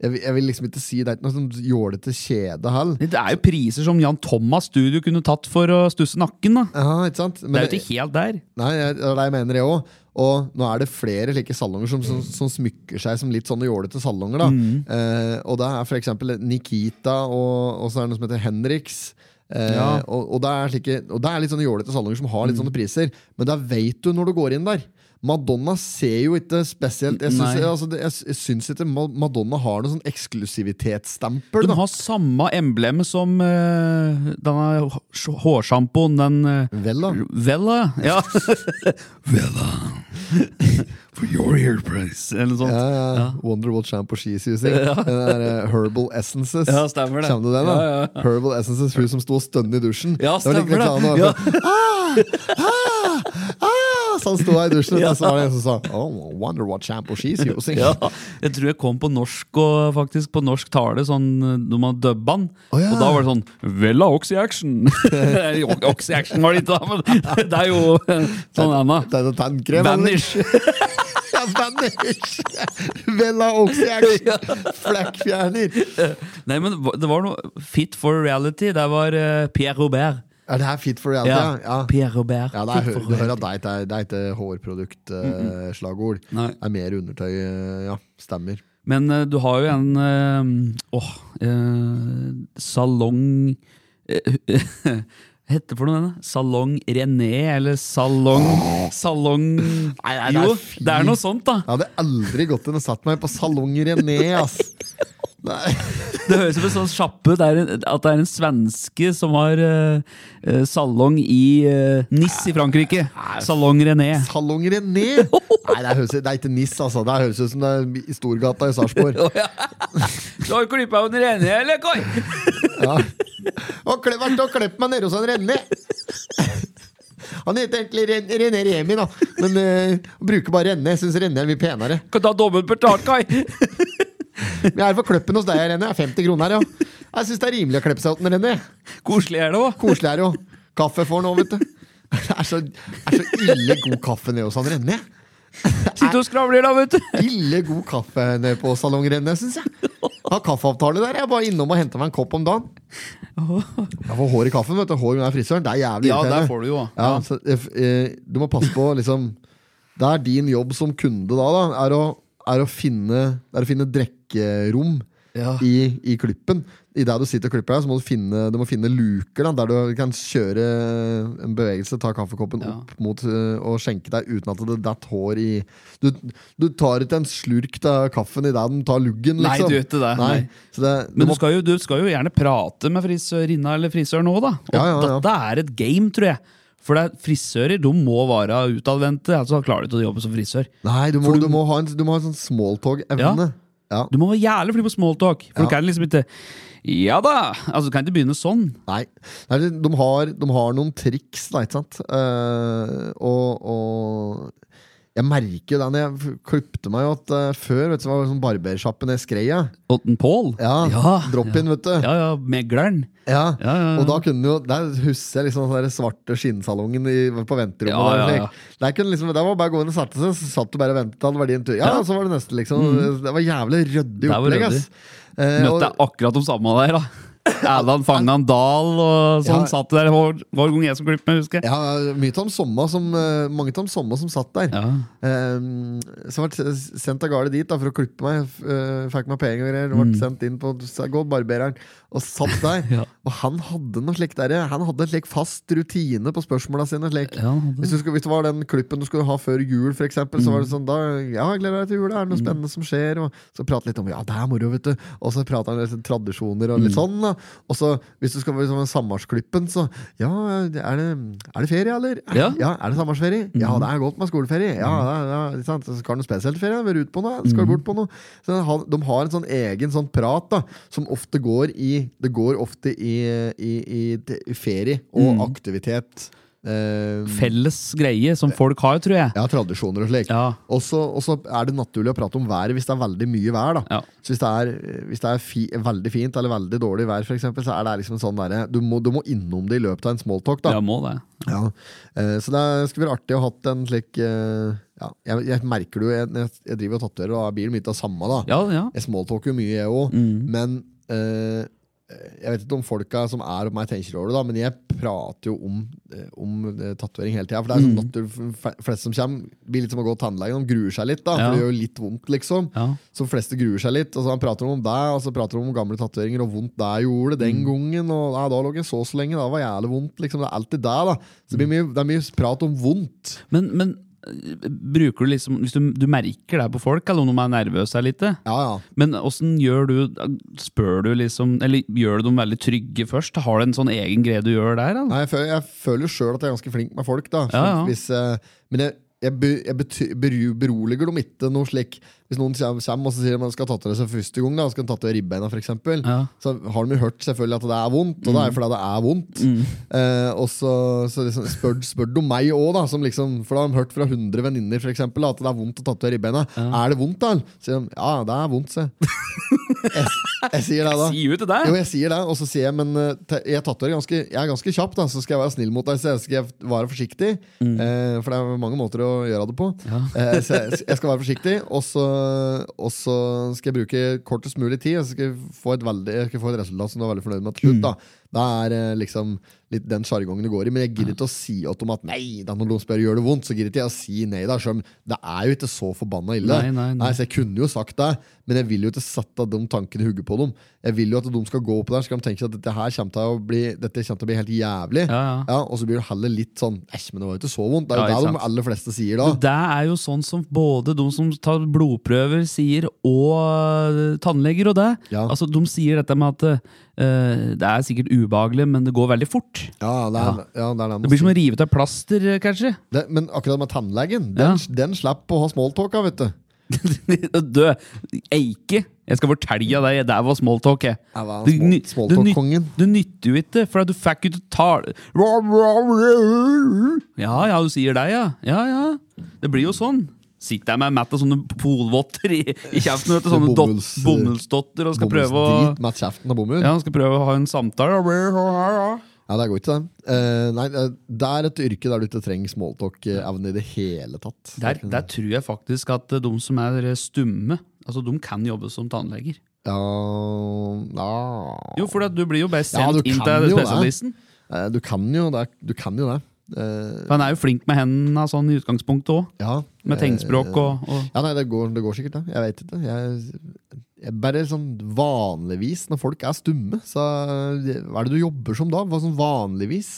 jeg, vil- jeg vil liksom ikke si det er ikke noe sånn jålete kjede heller.
Det er jo priser som Jan Thomas studio kunne tatt for å stusse nakken da.
Ja, ikke sant? Men
det er jo ikke helt der.
Nei, jeg, det er det jeg mener jeg òg. Og nå er det flere slike salonger som, som, som smykker seg som litt sånne jålete salonger. da
Mm.
eh, Og det er for eksempel Nikita, og, og så er det noe som heter Henriks. Eh,
Ja. Mm.
og, og, det er slike, og det er litt sånne jålete salonger som har litt sånne priser, men det vet du når du går inn der. Madonna ser jo ikke spesielt Jeg syns,
Nei.
altså, det- jeg, jeg syns ikke Ma- Madonna har noe sånn eksklusivitetsstempel.
De
da.
har samme embleme som eh, denne hå- hårsampoen, den eh,
Vel, da.
Vella. Ja. Vella. For your ear price. Eller noe sånt.
Ja, ja. Wonder what shampoo she's using. Den der, eh, herbal essences.
Ja, stemmer det.
Kjenner du den, da?
Ja, ja,
Herbal essences, hun som sto og stønne i dusjen.
Ja,
Det var like
stemmer det.
reklame, da.
Ja.
Ah, så han sto der i dusjen,
Ja.
og så var det en som sa oh, Wonder what shampoo she's using.
Ja, jeg tror jeg kom på norsk og faktisk på norsk tale sånn når man dubba den.
Å, ja.
Og da var det sånn Vella Oxy Action! Oxy Action var det ikke, da, men det er jo sånn Anna.
Det er en tannkrem. eller?
Vanish!
Ja, Vanish! Vella Oxy-action! Flekkfjerner!
Nei, men det var noe Fit for reality. Det var eh, Pierre Robert.
Er det her fit for reality?
Ja,
Ja. ja.
Pierre Robert.
Ja, det er,
Fit
hø-
for
du hører at
reality.
det er, ikke- det er ikke hårproduktslagord.
Nei.
det er mer undertøy. eh, Ja, stemmer.
Men eh, du har jo en eh, Åh eh, Salong Hette for noe denne? Salong René, eller Salong Salong Nei,
det er
Jo,
fint.
det er noe sånt,
Jeg
da!
hadde aldri gått inn og satt meg på Salong René, ass. Nei.
Det høres ut som en sånn sjappe. Det er en, at det er en svenske som har eh, eh, salong i eh, Nice i Frankrike. Salong René.
Salong René! Nei, det, høres, det er ikke NIS, altså. Det høres ut som det er i Storgata i Sarpsborg.
Du har klippa under René, eller, Koi?
Og kle, vært og klepp meg nede hos han René! Han heter egentlig Ren, René Remi, da. Men eh, bruker bare René. Syns René er mye penere.
Kan ta dobbelt betalt, Kai!
Vi er for kløppen hos deg, René. Det er 50 kroner her, ja. Jeg syns det er rimelig å kleppe seg åtten, René.
Koselig er det òg.
Koselig er det jo. Kaffe får han òg, vet du. Det er så, er så ille god kaffe nede hos han René.
Sitter og skravler, da, vet du.
Ille god kaffe nede på Salong René, syns jeg. Har kaffeavtale der. Jeg er bare innom og henter meg en kopp om dagen. Jeg får hår i kaffen, vet du. Hår under frisøren. Det er jævlig irriterende.
du jo.
Ja, så, eh, eh, du må passe på, liksom Det er din jobb som kunde da, da er, å, er å finne Det er å finne drikkerom
Ja.
i, i klippen. I det du sitter og klipper deg, så må du finne, du må finne luker da, der du kan kjøre en bevegelse, ta kaffekoppen
Ja.
opp mot eh, og skjenke deg uten at det datt hår i Du, du tar ikke en slurk av kaffen i det den tar luggen,
Nei,
liksom.
du gjør ikke det,
Nei.
nei.
Så det, du
Men du
må,
skal, jo, du skal jo gjerne prate med frisørinna eller frisøren òg, da. Og
Ja, ja, ja.
dette er et game, tror jeg. For det er frisører de må være utadvendte, altså klarer du ikke å jobbe som frisør.
nei, du må,
for
du,
du-
må ha en, du må ha en sånn smalltalk-evne. Ja.
Du må være jævlig flink på smalltalk,
Ja.
for du kan liksom ikke Ja da! Altså, du kan ikke begynne sånn.
Nei, Nei de, de, har, de har noen triks, da, ikke sant? Eh, og, og jeg merker jo det når jeg f- klipte meg jo at eh, før vet du, så var det sånn barbersjappe ned skreia.
Otten Paul?
Ja, drop-in, vet du. Ja.
Ja, ja, megleren.
Ja, Og da kunne jo, der husker jeg liksom den der svarte skinnsalongen i, på venterommet.
Ja,
der,
ja,
slik.
ja.
Der, kunne liksom, der var det bare å gå inn og sette seg, så satt du bare og ventet. Hadde vært din tur. Ja,
Ja. Mm.
og så var det neste, liksom. Det var jævlig ryddig
Det var
opplegg,
ryddig.
ass. Eh, og-
Møtte jeg akkurat de samme der, da. Erland Fangan Dahl
Ja.
og sånn satt der hver, hver gang jeg som klippet meg, husker jeg.
Ja, mye Tom Somma som, eh, mange Tom Somma som satt der.
Ja.
Um, så jeg ble sendt av gårde dit da, for å klippe meg. f- eh, fikk meg penger og greier. Ble sendt inn på så jeg går barbereren og satt der.
Mm. Ja.
Og han hadde noe slik der, Han hadde en slik fast rutine på spørsmåla sine. Slik.
Ja, han hadde
hvis, du skulle, hvis det var den klippen du skulle ha før jul, for eksempel, så var det sånn da, Ja, jeg gleder meg til jul. Er det noe spennende som skjer? Og så prate litt om Ja, det er moro, vet du. Og så prater han litt om tradisjoner og litt sånn. Da. Og så hvis du skal være sånn sammarsklippen, så Ja, er det, er det ferie, eller?
Ja.
ja, er det sommerferie? Ja, det er godt med skoleferie. Ja, ja, ja, ikke sant? Så Skal du noe spesielt ferie? Vil du ut på noe? Skal du bort på noe? Så den har- de har en sånn egen sånn prat da, som ofte går i Det går ofte i, i, i te- ferie og aktivitet. Eh,
Felles greie som folk har, tror jeg.
ja, tradisjoner og slik.
Ja.
Og så og så er det naturlig å prate om været hvis det er veldig mye vær. da.
Ja.
Så Hvis det er, hvis det er fi, veldig fint eller veldig dårlig vær, for eksempel, så er det liksom en sånn derre du, må- du må innom det i løpet av en smalltalk. da.
Ja, må det.
Ja, eh, Så det er- skulle vært artig å ha hatt en slik eh, ja, jeg, jeg merker det jo, jeg, jeg- jeg driver og tatoverer, og da blir det mye av samme. da
Ja, ja.
Jeg smalltalker jo mye, jeg òg, men eh, jeg vet ikke om folka som er oppe meg, tenker over det, da men jeg prater jo om, eh, om eh, tatovering hele tida. For det er sånn natur, f- flest som kommer, blir litt som å gå til tannlegen. De gruer seg litt, da
Ja.
for det gjør jo litt vondt, liksom.
Ja.
Så fleste gruer seg litt. Og så han prater om det, og så prater han om gamle tatoveringer og vondt det gjorde den gangen. Og nei, da lå jeg så så lenge, da var jævlig vondt. Liksom. Det er alltid det, da. Så det, blir mye, det er mye prat om vondt.
Men, men øh, bruker du liksom Hvis du, du merker det på folk, eller om de er nervøse her litt, eh?
Ja, ja.
men åssen gjør du eh, Spør du liksom Eller gjør du dem veldig trygge først? Har du en sånn egen greie du gjør der? Eller?
Nei, jeg føler, jeg føler jo sjøl at jeg er ganske flink med folk, da.
Ja, ja.
Hvis, eh, men jeg, jeg, be, jeg bety- beru- beroliger dem ikke noe slik. Hvis noen kommer, kommer og så sier de at de skal tatovere seg første gang, da, og skal de tatovere ribbeina, for eksempel,
Ja. Mm.
så har de jo hørt selvfølgelig at det er vondt, og det er jo fordi det er vondt. Eh, og så, så liksom, spør, spør de meg òg, da, som liksom, for da har de hørt fra 100 venninner for eksempel, da, at det er vondt å tatovere ribbeina. Er det vondt, da? Så sier de ja, det er vondt, se. jeg, jeg sier det, da.
Sier du til deg?
Jo, jeg sier det, og så sier jeg Men eh, te- jeg, tatoverer ganske, jeg er ganske kjapp, da, så skal jeg være snill mot deg. Så jeg skal jeg være forsiktig,
Mm.
eh, for det er mange måter å gjøre det på. Eh, så jeg, jeg skal være forsiktig, og så, og så
Mm.
skal jeg bruke kortest mulig tid. Og så skal jeg få et, veldig, jeg skal få et resultat som du er veldig fornøyd med til slutt. Da. Det er eh, liksom litt den sjargongen det går i. Men jeg gidder ikke å si til dem at nei, da når noen spør gjør det vondt, så gidder ikke jeg å si nei. da selv om Det er jo ikke så forbanna ille.
Nei, nei, nei.
så Jeg kunne jo sagt det, men jeg vil jo ikke sette de tankene i hodet på dem. Jeg vil jo at de skal gå opp der, så skal de tenke seg at dette her kommer til å bli, dette kommer til å bli helt jævlig.
Ja, ja.
og så blir det heller litt sånn Æsj, men det var jo ikke så vondt. Det er jo
Ja, ikke
det
sant.
de aller fleste sier da.
Det er jo sånn som både de som tar blodprøver sier, og eh, tannleger og det.
Ja.
Altså, De sier dette med at eh, det er sikkert ubehagelig, men det går veldig fort.
Ja, det er, ja. det, er det,
Det
de
blir som
sier.
å rive ut et plaster, eh, kanskje.
det Men akkurat med tannlegen, den, den slipper å ha smalltalka, vet du.
Dø. Eike. Jeg skal fortelle deg, det var smalltalk. jeg.
Ja, hva er
Det
small-
ny- det nyt-
smalltalk-kongen?
Det nytter jo ikke, for at du fikk jo ikke tale Ja ja, du sier det, ja. Ja ja. Det blir jo sånn. Sitter jeg med Matt og sånne polvotter i, i kjeften, vet du, sånne dot,
Bomulls-
bomullsdotter, og skal prøve å
Bomullsdrit med kjeften og bomull.
ja, han skal prøve å ha en samtale.
Ja, det går ikke, det. Eh, nei, eh, det er et yrke der du ikke trenger smalltalk-evne i det hele tatt.
Der, der tror jeg faktisk at eh, de som er eh, stumme, altså de kan jobbe som tannleger.
Ja, ja.
Jo, for at du blir jo bare
Ja, du
sendt inn
kan
til
jo det.
spesialisten.
Eh, Du kan jo det. Du kan jo det. Eh,
For han er jo flink med hendene sånn i utgangspunktet òg.
ja.
Med tegnspråk
Eh,
og, og
Ja, nei, det går, det går sikkert, det. Jeg vet ikke. Jeg, jeg bare sånn vanligvis, når folk er stumme, så eh, hva er det du jobber som da? Hva sånn vanligvis?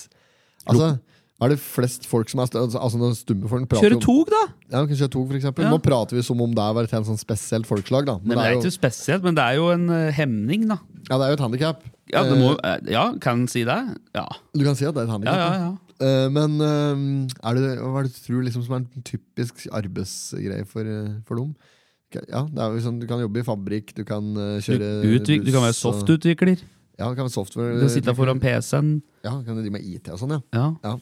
Altså, hva er det flest folk som er stumme? Altså, når stumme folk prater
Kjøre
om-
tog, da!
Ja, kanskje tog, for eksempel.
Ja.
Nå prater vi som om det var et helt sånn spesielt folkeslag, da.
Nei, men
det er jo-
det er ikke spesielt, men det er jo en eh, hemning, da.
Ja, det er jo et handikap.
Ja, det må, eh, ja kan en si det? Ja.
Du kan si at det er et handikap.
Ja, ja, ja.
Eh, men eh, er det, hva er det du tror liksom, som er en typisk arbeidsgreie for, eh, for dem? Ka- Ja, det er jo sånn, Du kan jobbe i fabrikk, du kan eh,
Du,
kjøre
utvik, du kan være
buss og-
softutvikler.
Ja, du kan være software.
Du kan sitte foran PC-en.
Ja, du kan drive med IT og sånn, ja.
Ja.
ja.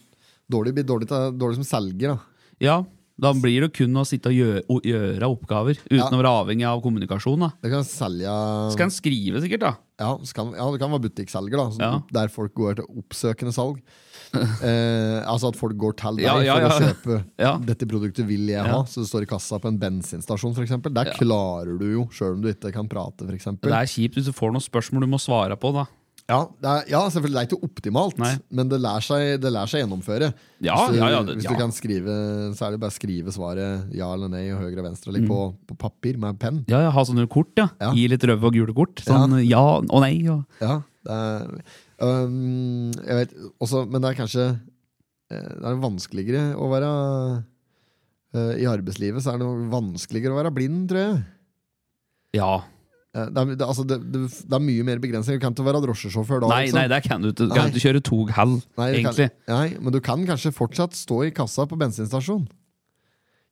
Dårlig, blir dårlig, til- dårlig som selger, da.
ja. Da blir det kun å sitte og gjøre, å gjøre oppgaver,
Ja.
uten å være avhengig av kommunikasjon. da
Du kan selge
Så kan en skrive, sikkert. da
Ja, så kan, ja, det kan være butikkselger, da. så-
Ja.
Der folk går til oppsøkende salg. Eh, altså at folk går til deg
Ja, ja,
for
ja.
å kjøpe
Ja.
'dette produktet vil jeg ha', så det står i kassa på en bensinstasjon f.eks. Der klarer du jo, sjøl om du ikke kan prate, f.eks.
Det er kjipt hvis du får noen spørsmål du må svare på. da
Ja, det er, ja, selvfølgelig, det er ikke optimalt,
Nei.
men det lærer seg, det lærer seg gjennomføre.
Ja,
hvis du,
ja, ja, det-
hvis
ja.
du kan skrive, så er det bare å skrive svaret ja eller nei og høyre og venstre
Mm.
eller på, på papir med penn.
Ja, ja, Ha sånne kort, ja.
Ja.
Gi litt røde og gule kort. Sånn ja og nei. Og
Ja, det er, øhm, jeg vet, også, men det er kanskje eh, Det er vanskeligere å være eh, I arbeidslivet så er det noe vanskeligere å være blind, tror jeg.
ja.
Eh, Det er, det, altså, det, det, det er mye mer begrensninger. Du kan ikke være drosjesjåfør da.
Nei,
liksom.
nei, der kan du ikke. Kan du ikke kjøre tog heller,
Nei, du
egentlig.
Kan, nei, men du kan kanskje fortsatt stå i kassa på bensinstasjon.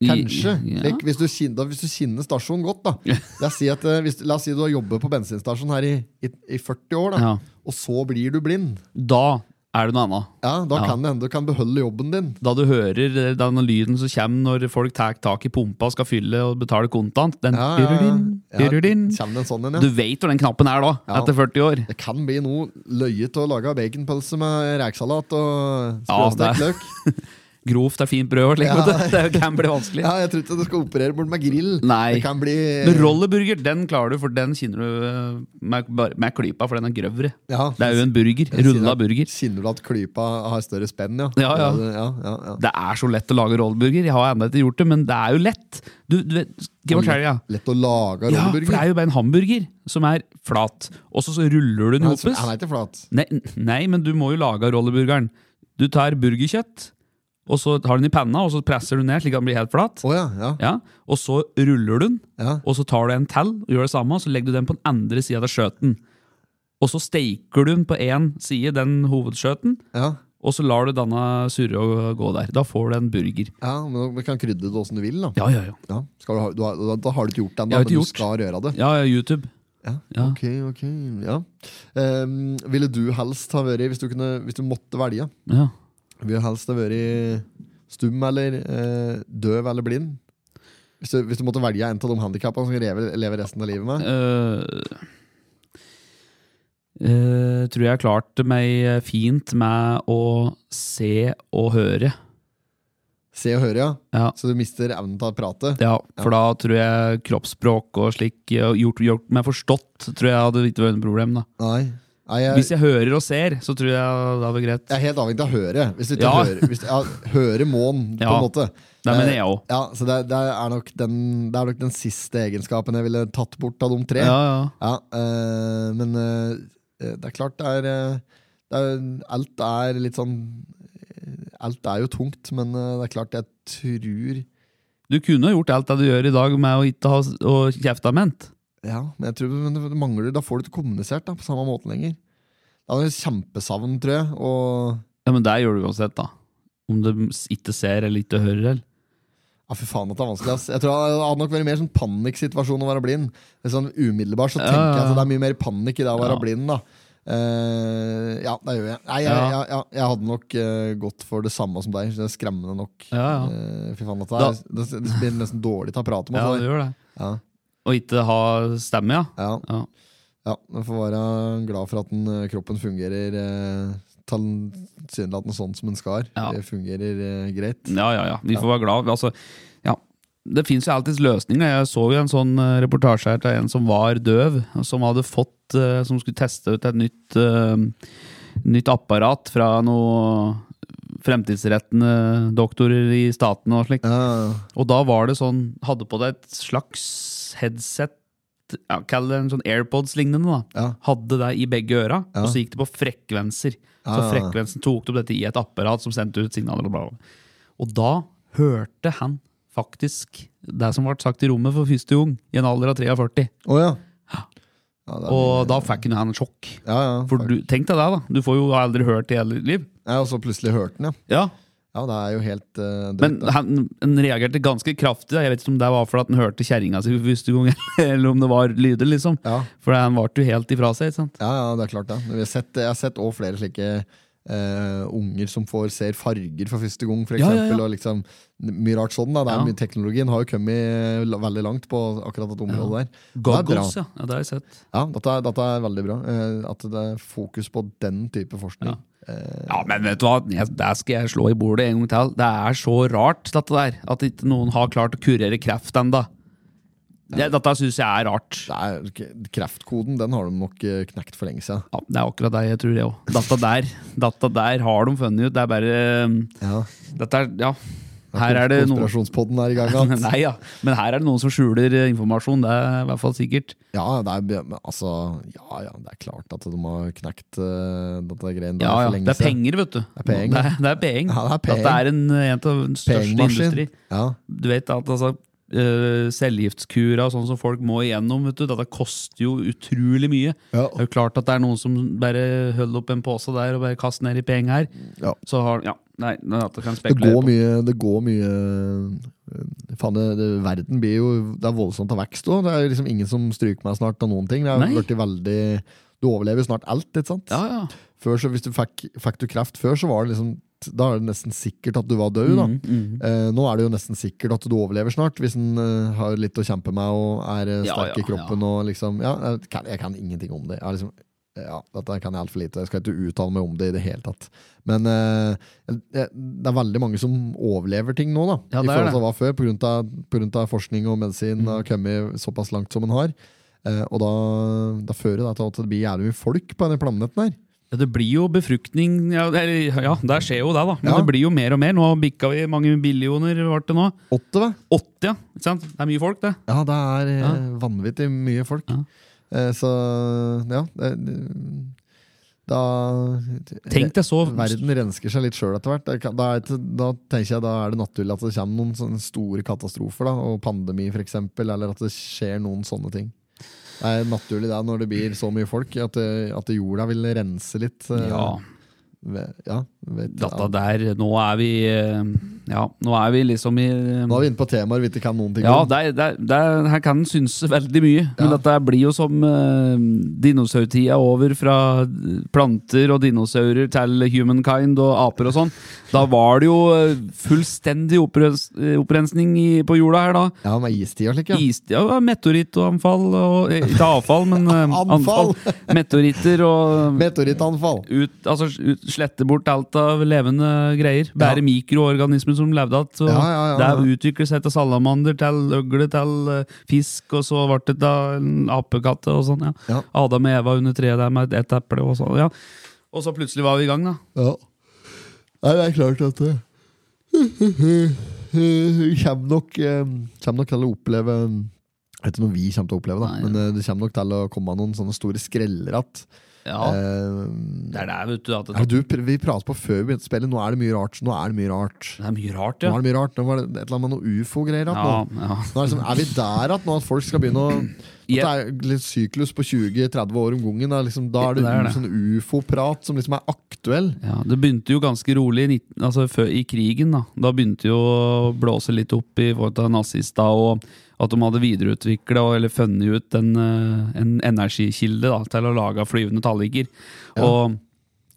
Kanskje.
Ja.
Slik, hvis, du kjenner, da- hvis du kjenner stasjonen godt, da. La oss si, at, eh, hvis, la oss si du har jobbet på bensinstasjon her i, i, i 40 år, da.
Ja.
og så blir du blind.
Da er det noe annet.
Ja, Da
Ja.
kan det hende du kan beholde jobben din.
Da du hører eh, denne lyden som kommer når folk tar tak i pumpa og skal fylle og betale kontant Den
Ja, ja, ja.
dirudin,
Ja,
dirudin.
kommer det en sånn en,
Du
ja.
vet hvor den knappen er da,
Ja.
etter 40 år.
Det kan bli noe løye til å lage baconpølse med rekesalat og
Ja, det-
sprøstekt løk.
Grovt er fint brød og slikt. vet du. Det kan bli vanskelig.
Ja, jeg tror ikke du skal operere bort med grill.
Nei.
Det kan bli
Men rolleburger den klarer du, for den kjenner du eh, med, bare- med klypa, for den er grøvere.
Ja.
Det er jo en burger.
Jeg sier
Rulla
at-
burger.
Kjenner du at klypa har større spenn, ja?
Ja, ja.
ja, ja, ja.
Det er så lett å lage rolleburger. Jeg har ennå ikke gjort det, men det er jo lett. Du, du vet, Skal jeg fortelle deg, ja.
Lett å lage
Ja, for
rolleburger.
det er jo bare en hamburger som er flat, og så, så ruller du den
Han
i hopes.
er ikke flat.
Nei, nei, men du må jo lage av rolleburgeren. Du tar burgerkjøtt, og så tar du den i panna, og så presser du ned slik at den blir helt flat.
Å ja, ja.
Ja, og så ruller du den,
Ja.
og så tar du en til og gjør det samme, og så legger du den på den andre sida av skjøten. Og så steiker du den på én side, den hovedskjøten,
ja.
og så lar du denne surre å gå der. Da får du en burger.
ja men du kan krydre det åssen du vil, da.
Ja, ja, ja.
Ja. Skal du ha, du har, da, da har du ikke gjort det
Jeg
ennå,
har
men
ikke
du
gjort.
skal røre det.
Ja, ja, YouTube.
Ja.
Ja.
Ok, ok. Ja. Ehm, ville du helst ha vært hvis du, kunne, hvis du måtte velge?
Ja.
Ville du helst ha vært stum eller eh, døv eller blind? Hvis du, hvis du måtte velge en av de handikappene som lever, lever resten av livet med?
Eh, eh, tror jeg klarte meg fint med å se og høre.
Se og høre, ja.
Ja.
Så du mister evnen til å prate?
Ja, for da tror jeg kroppsspråk og slik og gjort, gjort meg forstått, tror jeg hadde ikke vært noe problem. da
Nei. Nei, jeg,
Hvis jeg hører og ser, så tror jeg det er greit.
jeg er helt avhengig av høret. Hvis du ikke
Ja.
hører, hvis, ja, hører måen, på
Ja.
en måte.
Det
Eh,
mener jeg òg.
Ja, så det, det, er nok den, det er nok den siste egenskapen jeg ville tatt bort av de tre.
Ja, ja.
Ja, eh, men eh, det er klart det er, eh, det er Alt er litt sånn eh, Alt er jo tungt, men eh, det er klart jeg tror
Du kunne gjort alt det du gjør i dag med å ikke ha å kjefte ment.
Ja, men jeg tror men det mangler Da får du ikke kommunisert da, på samme måte lenger. Det er jo kjempesavn, tror jeg. Og
Ja, men det gjør du uansett, da. Om du ikke ser eller ikke hører. Eller.
ja, fy faen at det er vanskelig. Ass. Jeg tror Det hadde nok vært mer sånn panikksituasjon å være blind. Det er Sånn Umiddelbart så
Ja,
tenker jeg
ja, ja.
at det er mye mer panikk i det å være
Ja.
blind. da Eh, ja, det gjør jeg. Nei, jeg,
Ja.
jeg, jeg, jeg hadde nok eh, gått for det samme som deg. så Det er skremmende nok.
Ja, ja.
Eh, Fy faen, dette er, det, det blir nesten dårlig til å prate om.
ja,
altså.
du gjør det.
Ja,
Og ikke ha stemme, ja.
ja,
ja.
ja. Man får være glad for at den, eh, kroppen fungerer eh, tilsynelatende sånn som den skal.
Ja.
Det fungerer eh, greit.
Ja, ja, ja. Vi får være glad. Altså, ja. Det fins jo alltids løsninger. Jeg så jo en sånn eh, reportasje her til en som var døv, og som hadde fått eh, Som skulle teste ut et nytt, eh, nytt apparat fra noen fremtidsrettende doktorer i staten og slikt.
Ja,
Og da var det sånn Hadde på deg et slags headset, ja, kall det en sånn AirPods-lignende, da.
ja.
Hadde det i begge øra,
Ja.
og så gikk det på frekvenser. Så
Ja, ja, ja.
frekvensen tok opp dette i et apparat som sendte ut signaler. Og, bla, bla, bla. og da hørte han faktisk det som ble sagt i rommet for første gang, i en alder av 43.
Å ja. Ja, det er
Og
mye-
da fikk han en sjokk.
ja, ja,
For du, tenk deg det, da. Du får jo aldri hørt det i hele ditt liv.
ja, Og så plutselig hørte den, ja.
Ja,
Ja, det er jo helt uh,
Men han, han reagerte ganske kraftig. da. Jeg vet ikke om det var fordi han hørte kjerringa si for første gang, eller om det var lyder, liksom.
Ja.
For han varte jo helt ifra seg. ikke sant?
Ja, ja, det er klart det. Vi har sett, jeg har sett også flere slike eh, unger som får, ser farger for første gang, for
Ja, ja,
eksempel.
ja.
Og liksom, mye rart sånn. Da. Det er
Ja.
mye, teknologien har jo kommet la- veldig langt på akkurat dette området der. Og det er bra.
Goggles, ja. ja. Det har jeg sett.
Ja, dette, er- dette er veldig bra. eh, at det er fokus på den type forskning.
Ja, men vet du hva, jeg, der skal jeg slå i bordet en gang til. Det er så rart, dette der. At ikke noen har klart å kurere kreft ennå. Det, dette syns jeg er rart.
Det er, k- kreftkoden den har de nok eh, knekt for lenge siden.
Ja, det er akkurat det jeg tror, jeg òg. Dette der dette der har de funnet ut. Det er bare um,
Ja.
Dette er Ja. Her er det noen
Konspirasjonspodden er i gang. At,
Nei, ja. Men her er det noen som skjuler eh, informasjon. Det er i hvert fall sikkert.
ja, det er, be- men altså, ja, ja, det er klart at de har knekt eh, dette greiene der
Ja, ja.
for lenge
Det er
siden.
penger, vet du. Det
er penger.
Det er, det er penger.
Ja, det er penger.
Dette er en, en av den største
Pengemaskin.
industri.
Ja.
Du vet at altså, eh, cellegiftskura og sånn som folk må igjennom, vet du, dette koster jo utrolig mye.
Ja.
Det er jo klart at det er noen som bare holder opp en pose der og bare kaster ned i penger her.
Ja.
Så har, ja, nei, dette kan jeg
Det
spekulere
går
på.
mye, det går mye øh, Faen, det, det, verden blir jo Det er voldsomt av vekst òg. Det er jo liksom ingen som stryker meg snart av noen ting. Det
Nei.
er blitt veldig Du overlever jo snart alt, ikke sant?
Ja, ja.
Før så, hvis du fikk, fikk du kreft før, så var det liksom Da er det nesten sikkert at du var død, da.
Mm, mm.
Eh, nå er det jo nesten sikkert at du overlever snart, hvis en eh, har litt å kjempe med og er eh,
Ja,
sterk
ja,
i kroppen. Og liksom, ja, jeg, kan, jeg kan ingenting om det. Jeg, har liksom, ja, dette kan jeg altfor lite. Jeg skal ikke uttale meg om det i det hele tatt. Men eh, det, det er veldig mange som overlever ting nå, da.
Ja,
I
det
forhold
er det. Mm.
til hva før, på grunn av- på grunn av forskning og medisin har kommet såpass langt som en har. Eh, og da, da fører det til at det blir jævlig mye folk på denne planeten her.
Ja, det blir jo befruktning Ja, det, er- ja, der skjer jo det, da. Men
Ja.
det blir jo mer og mer. Nå bikka vi mange billioner, ble det nå.
Åtte, hva?
Åtte, ja. Ikke sant? Det er mye folk, det.
Ja, det er eh,
Ja.
vanvittig mye folk.
Ja.
Eh, så ja det, Da
Tenk deg så
Verden rensker seg litt sjøl etter hvert. Det kan- Da, er ikke- da tenker jeg da er det naturlig at det kommer noen sånne store katastrofer, da, og pandemi f.eks., eller at det skjer noen sånne ting. Det er naturlig det når det blir så mye folk, at, det, at jorda vil rense litt. eh,
Ja,
Ved, ja, ved,
dette der Nå er vi eh, Ja, nå er vi liksom i eh,
Nå er vi inne på temaer vi ikke kan noen ting
Ja,
om.
det er, det er, det er, her kan en synse veldig mye. Men
Ja.
dette blir jo som uh, dinosaurtida over fra planter og dinosaurer til humankind og aper og sånn. Da var det jo eh, fullstendig opprens, eh, opprensning i, på jorda her, da.
Ja, med istid og slik, ja.
Is, ja, meteorittanfall og eh, Ikke avfall, men eh,
Anfall.
anfall. Meteoritter og
Meteorittanfall.
ut, altså, ut, slette bort alt av levende greier. Bare mikroorganismer som levde att. og
Ja, ja, ja, ja.
Det utviklet seg til salamander, til øgle, til eh, fisk, og så ble det da en apekatt og sånn. Ja.
Ja.
Adam og Eva under treet der med et eple og sånn. Ja. Og så plutselig var vi i gang, da.
Ja. Nei, det er klart at det Hun kommer nok, eh, kommer nok til å oppleve Jeg vet ikke om vi kommer til å oppleve, da,
Nei,
men eh, det kommer nok til å komme noen sånne store skreller att.
Ja,
Eh,
det er der, vet du. At
ja,
det,
du, pr- vi pratet på før vi begynte å spille. Nå er det mye rart. Nå er det mye rart.
det er mye rart,
Nå
ja.
er det mye rart. Nå var det et eller annet med noe ufo-greier. att
Ja,
nå.
ja.
Nå er, det liksom, er vi der at nå at folk skal begynne å At det er litt syklus på 20-30 år om gangen? Da, liksom, da er det,
Det er det.
sånn ufo-prat som liksom er aktuell.
Ja, Det begynte jo ganske rolig i, 19, altså før, i krigen. Da Da begynte jo å blåse litt opp i forhold til nazister, og at de hadde videreutvikla eller funnet ut en, eh, en energikilde da, til å lage flyvende talliker. Og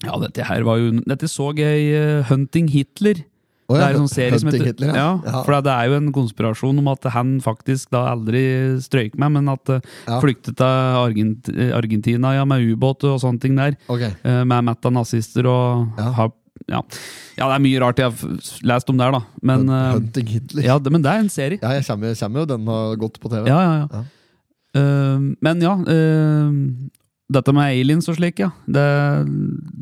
ja, dette her var jo Dette så jeg i eh, Hunting Hitler.
Å
Det
ja,
er en sånn serie som
Hunting
heter
Hitler, ja.
ja.
Ja.
For det er jo en konspirasjon om at han faktisk da aldri strøyk meg, men at eh,
Ja.
flyktet til Argent Argentina ja, med ubåt og sånne ting der.
Ok.
Eh, med mett av nazister og
Ja.
har, ja. ja, det er mye rart jeg har f- lest om der, da. Men, eh,
Hunting Hitler. Ja,
ja, det, men det er en serie.
jeg kommer, kommer jo den har gått på TV.
Ja, ja, ja.
Ja.
Eh, men ja eh, Dette med aliens og slik, ja. Det,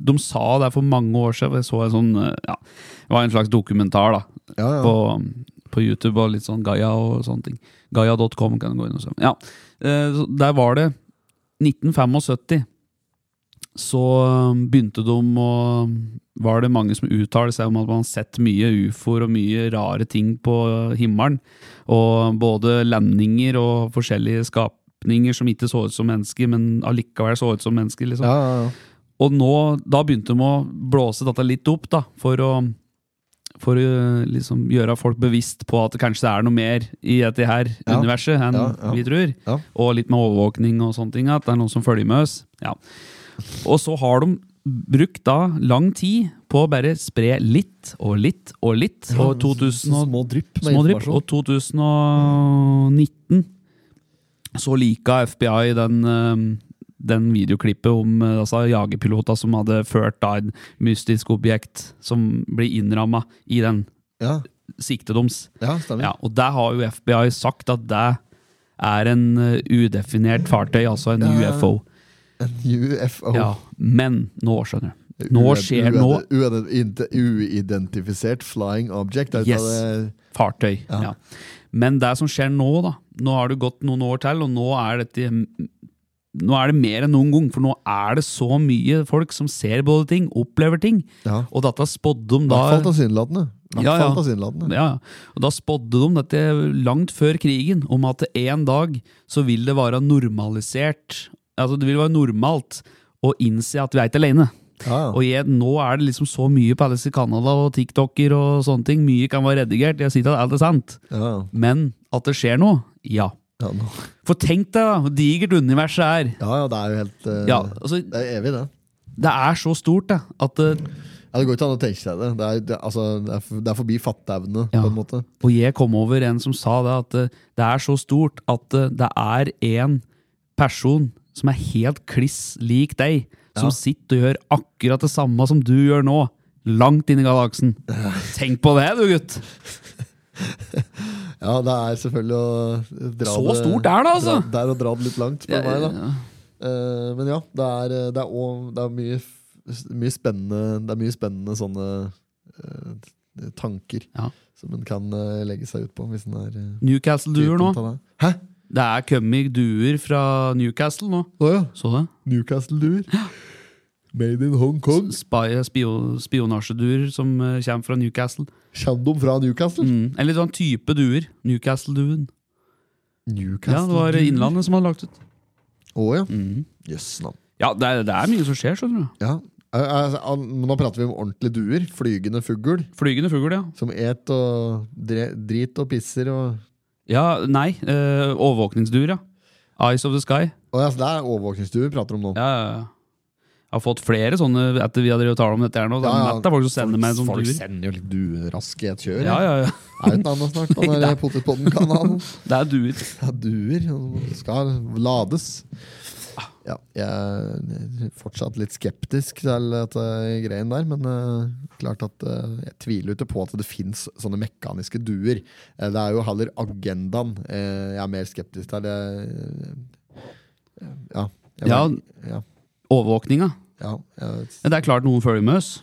de sa det for mange år siden. Jeg så en sånn eh, ja, Det var en slags dokumentar da
Ja, ja.
på, på YouTube og litt sånn Gaia og sånne ting. Gaia.com kan du gå inn og se. Ja. Eh, så Der var det 1975. Så eh, begynte de å Var det mange som uttalte seg om at man har sett mye ufoer og mye rare ting på himmelen. Og både landinger og forskjellige skapninger som ikke så ut som mennesker, men allikevel så ut som mennesker. liksom.
Ja, ja, ja.
Og nå, da begynte de å blåse dette litt opp, da, for å, for å liksom gjøre folk bevisst på at det kanskje er noe mer i dette her
Ja.
universet enn
Ja, ja.
vi tror.
Ja.
Og litt med overvåkning og sånne ting, at det er noen som følger med oss. Ja. Og så har de brukt da lang tid på å bare spre litt og litt og litt. Og 2000 og
Små drypp med
Små drypp.
informasjon.
Og 2019 så lika FBI den, eh, den videoklippet om eh, altså, jagerpiloter som hadde ført da et mystisk objekt som blir innramma i den
Ja,
siktedoms.
ja, stemmer.
Ja, og der har jo FBI sagt at det er en eh, udefinert fartøy, altså en
Ja, Oh. ja, ja.
UFO.
En UFO.
Ja, men nå skjønner du. Nå
Ued-
skjer
ued-
nå
ued- inte- Uidentifisert flying object. er det
Yes.
det-
fartøy.
Ja.
Ja. Men det som skjer nå, da Nå har det gått noen år til, og nå er dette nå er det mer enn noen gang, for nå er det så mye folk som ser både ting, opplever ting.
Ja.
Og dette spådde de
I
da
hvert fall tilsynelatende. I hvert
Ja,
fall
ja.
tilsynelatende.
ja, ja. og da spådde de dette langt før krigen, om at en dag så vil det være normalisert Altså det vil være normalt å innse at vi er ikke alene.
Ja, ja.
Og jeg, nå er det liksom så mye på Alice i Canada og TikToker og sånne ting. Mye kan være redigert. Jeg sier ikke at alt er sant.
Ja, ja.
Men at det skjer noe, ja.
Ja, nå-
For tenk deg da, hvor digert universet er.
ja, ja, det er jo helt eh,
Ja, altså,
Det er evig, det.
det er så stort, det. At, eh,
Ja, det går ikke an å tenke seg det. Det er, det, altså, det er, for- det er forbi fatteevne,
Ja.
på en måte.
og jeg kom over en som sa det, at eh, det er så stort at eh, det er en person som er helt kliss lik deg, som
Ja.
sitter og gjør akkurat det samme som du gjør nå, langt inn i galaksen. Tenk på det, du gutt!
Ja, det er selvfølgelig å dra
Så stort er det, altså!
Dra, det er å dra det litt langt, spør du meg. da Eh, men ja, det er, det er, også, det er mye, f- mye spennende Det er mye spennende sånne eh, tanker
Ja.
som en kan eh, legge seg ut på hvis en er eh,
Newcastle-duer nå.
typen av det. Hæ?
Det er kommet duer fra Newcastle nå.
Å ja.
Så det?
Newcastle-duer. Made in Hongkong.
Spy- spio- Spionasjeduer som eh, kommer fra Newcastle.
Kommer de fra Newcastle?
Mm. Eller sånn type duer. Newcastle-duen. Ja, det var
Newcastle-duer.
Innlandet som hadde lagt ut.
Å ja. Jøss, navn.
Ja, det er, det er mye som skjer, skjønner du.
Ja. Eh, eh, al- men Nå prater vi om ordentlige duer. Flygende fugl.
Flygende fugl, ja.
Som et og dre, drit og pisser og
Ja, Nei, eh, overvåkningsduer, ja. Eyes of the Sky.
Å ja, så det er overvåkningsduer vi prater om nå.
Ja, ja, ja. Jeg har fått flere sånne etter vi har drevet og talt om dette her nå. Det er
Ja, ja.
mett av folk som sender meg som
Folk
duer.
sender jo litt duerask i et kjør.
Ja, ja, ja.
Er jo ikke annet snart på den der potetpodden-kanalen.
Det er duer.
Ja, duer. Skal lades. Ja, jeg er fortsatt litt skeptisk til dette greien der, men eh, klart at eh, jeg tviler jo ikke på at det fins sånne mekaniske duer. Eh, det er jo heller agendaen eh, jeg er mer skeptisk til. Det, eh, ja, jeg,
Ja.
ja,
Overvåkninga.
ja, jeg,
Ja, Det er klart noen følger med oss.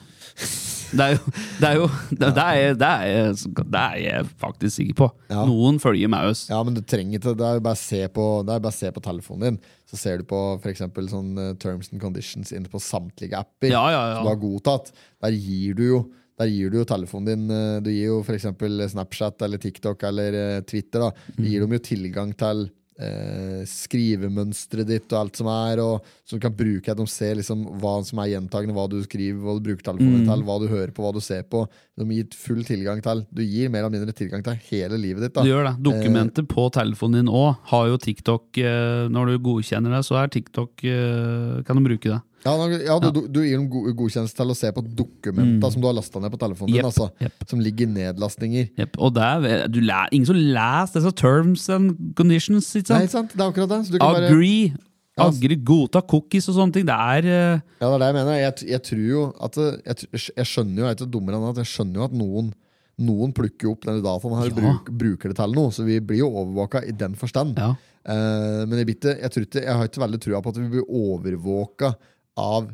Det er jo Det er, jo, det, det er, jeg- det er, jeg- det er jeg faktisk sikker på.
Ja.
Noen følger med oss.
Ja, men du trenger ikke Det er jo bare å se på, det er jo bare å se på telefonen din. Så ser du på f.eks. sånn eh, terms and conditions inne på samtlige apper
Ja, ja, ja.
som du har godtatt. Der gir du jo der gir du jo telefonen din eh, Du gir jo f.eks. Snapchat eller TikTok eller eh, Twitter. da Du gir dem jo tilgang til eh, skrivemønsteret ditt og alt som er, og så du kan bruke at de ser liksom hva som er gjentagende, hva du skriver, hva du bruker telefonen din til, hva du hører på, hva du ser på. De gir full tilgang til Du gir mer eller mindre tilgang til hele livet ditt. da Eh.
Du gjør det. Dokumenter på telefonen din òg har jo TikTok eh, Når du godkjenner det, så er TikTok eh, Kan du bruke det.
Ja, da- ja du, du, du gir dem go- godkjennelse til å se på dokumenta som du har lasta ned på telefonen din.
Jepp,
Altså,
jepp.
Som ligger i nedlastninger.
Jepp. Og det er du læ- ingen som leser disse terms and conditions, ikke
Nei,
sant?
ikke sant? Det er akkurat det. Så du kan bare, ja,
Agree.
Ja, s-
Agree, godta cookies og sånne ting. Det er eh,
det er det jeg mener. Jeg, jeg tror jo at det- jeg, tr- jeg skjønner jo, jeg er ikke dummere enn at jeg skjønner jo at noen noen plukker jo opp denne dataen her og
Ja.
bruk, bruker det til noe, så vi blir jo overvåka i den forstand.
Ja.
Eh, men jeg, blir ikke- jeg, tror ikke, jeg har ikke veldig trua på at vi blir overvåka av,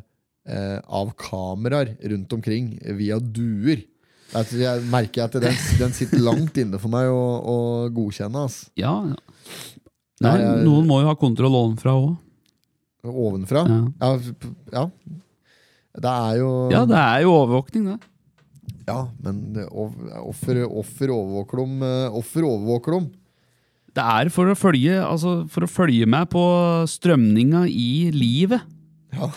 eh, av kameraer rundt omkring via duer. Jeg, tror- jeg merker at den, den sitter langt inne for meg å, å godkjenne. ass.
Ja. ja.
Nei,
Nei,
jeg-
noen må jo ha kontroll ovenfra òg.
Ovenfra.
Ja.
Ja. p- ja. Det er jo
Ja, det er jo overvåkning, det.
Ja, men det- of- offer, offer overvåker dem. eh, Offer overvåker dem.
Det er for å følge, altså, for å følge med på strømninga i livet.
Ja.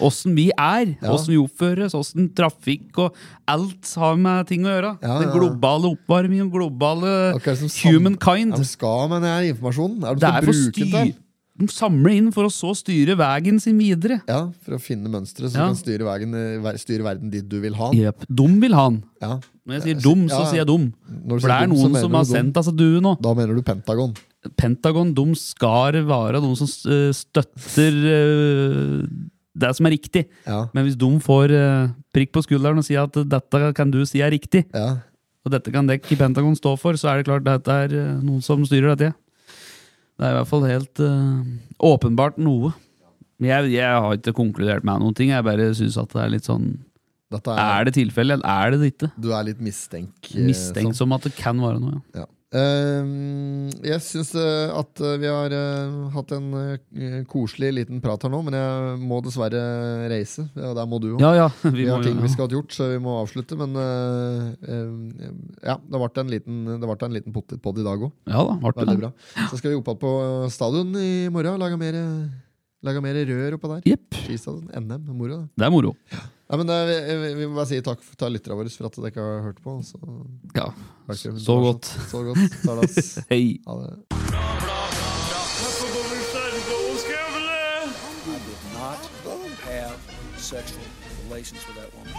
Åssen vi er,
Ja.
åssen vi oppføres, åssen trafikk og alt har med ting å gjøre.
Ja,
Den
ja, ja.
globale oppvarmingen, globale
Akkurat som sam-
humankind.
Ja, de skal med den her informasjonen. Er de
det
skal
er for å
bruke den til?
styre De samler inn for å så styre veien sin videre.
Ja, for å finne mønstre som
Ja.
kan styre, veien, eh, ver- styre verden dit du vil ha. den.
Jep. Dum vil han.
Ja.
Når jeg sier dum, så
Ja, ja.
sier jeg dum.
Når du
For det
sier
er
dum, så
noen
mener
som
du
har
dum.
sendt altså du nå.
Da mener du Pentagon.
Pentagon de skal være de som eh, støtter eh, det som er riktig.
Ja.
Men hvis de får eh, prikk på skulderen og sier at dette kan du si er riktig,
Ja.
og dette kan dekk i Pentagon stå for, så er det klart dette er eh, noen som styrer dette. Det er i hvert fall helt eh, åpenbart noe. Men Jeg, jeg har ikke konkludert med noen ting. Jeg bare syns at det er litt sånn
Dette er,
Er det tilfelle, eller er det ikke?
Du er litt mistenk. eh,
Mistenkt som at det kan være noe.
sånn. Ja. Ehm, jeg syns eh, at eh, vi har eh, hatt en eh, koselig liten prat her nå, men jeg må dessverre reise. Ja, der må du òg.
Ja ja. ja
Vi,
vi
har
må,
ting
jo-
vi skal ha gjort, så vi må avslutte. Men eh, eh, ja, det ble en liten, det ble en liten potetpod i dag òg.
ja da, artig.
Veldig
det.
bra. Så skal vi opp igjen på stadion i morgen. Lage mer, lage mer rør oppå der.
Jepp.
Skistadion, NM. Moro, det.
Det er moro.
Nei, men det, vi, vi- vi må bare si takk til lytterne våre for at dere ikke har hørt på. Så,
Ja.
takk for-
Så godt.
Så godt. Tardas.
Hei.
Ha det.
Not have sexual relations with that woman.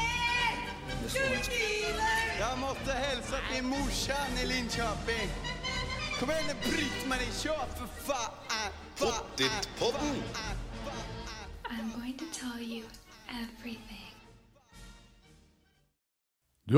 Miss Lewinsky.
Jag måste hälsa till morsan i Linköping. Kom igen nu Britt-Marie, kör för fan! Pottit-podden!
I'm going to tell you everything.
Du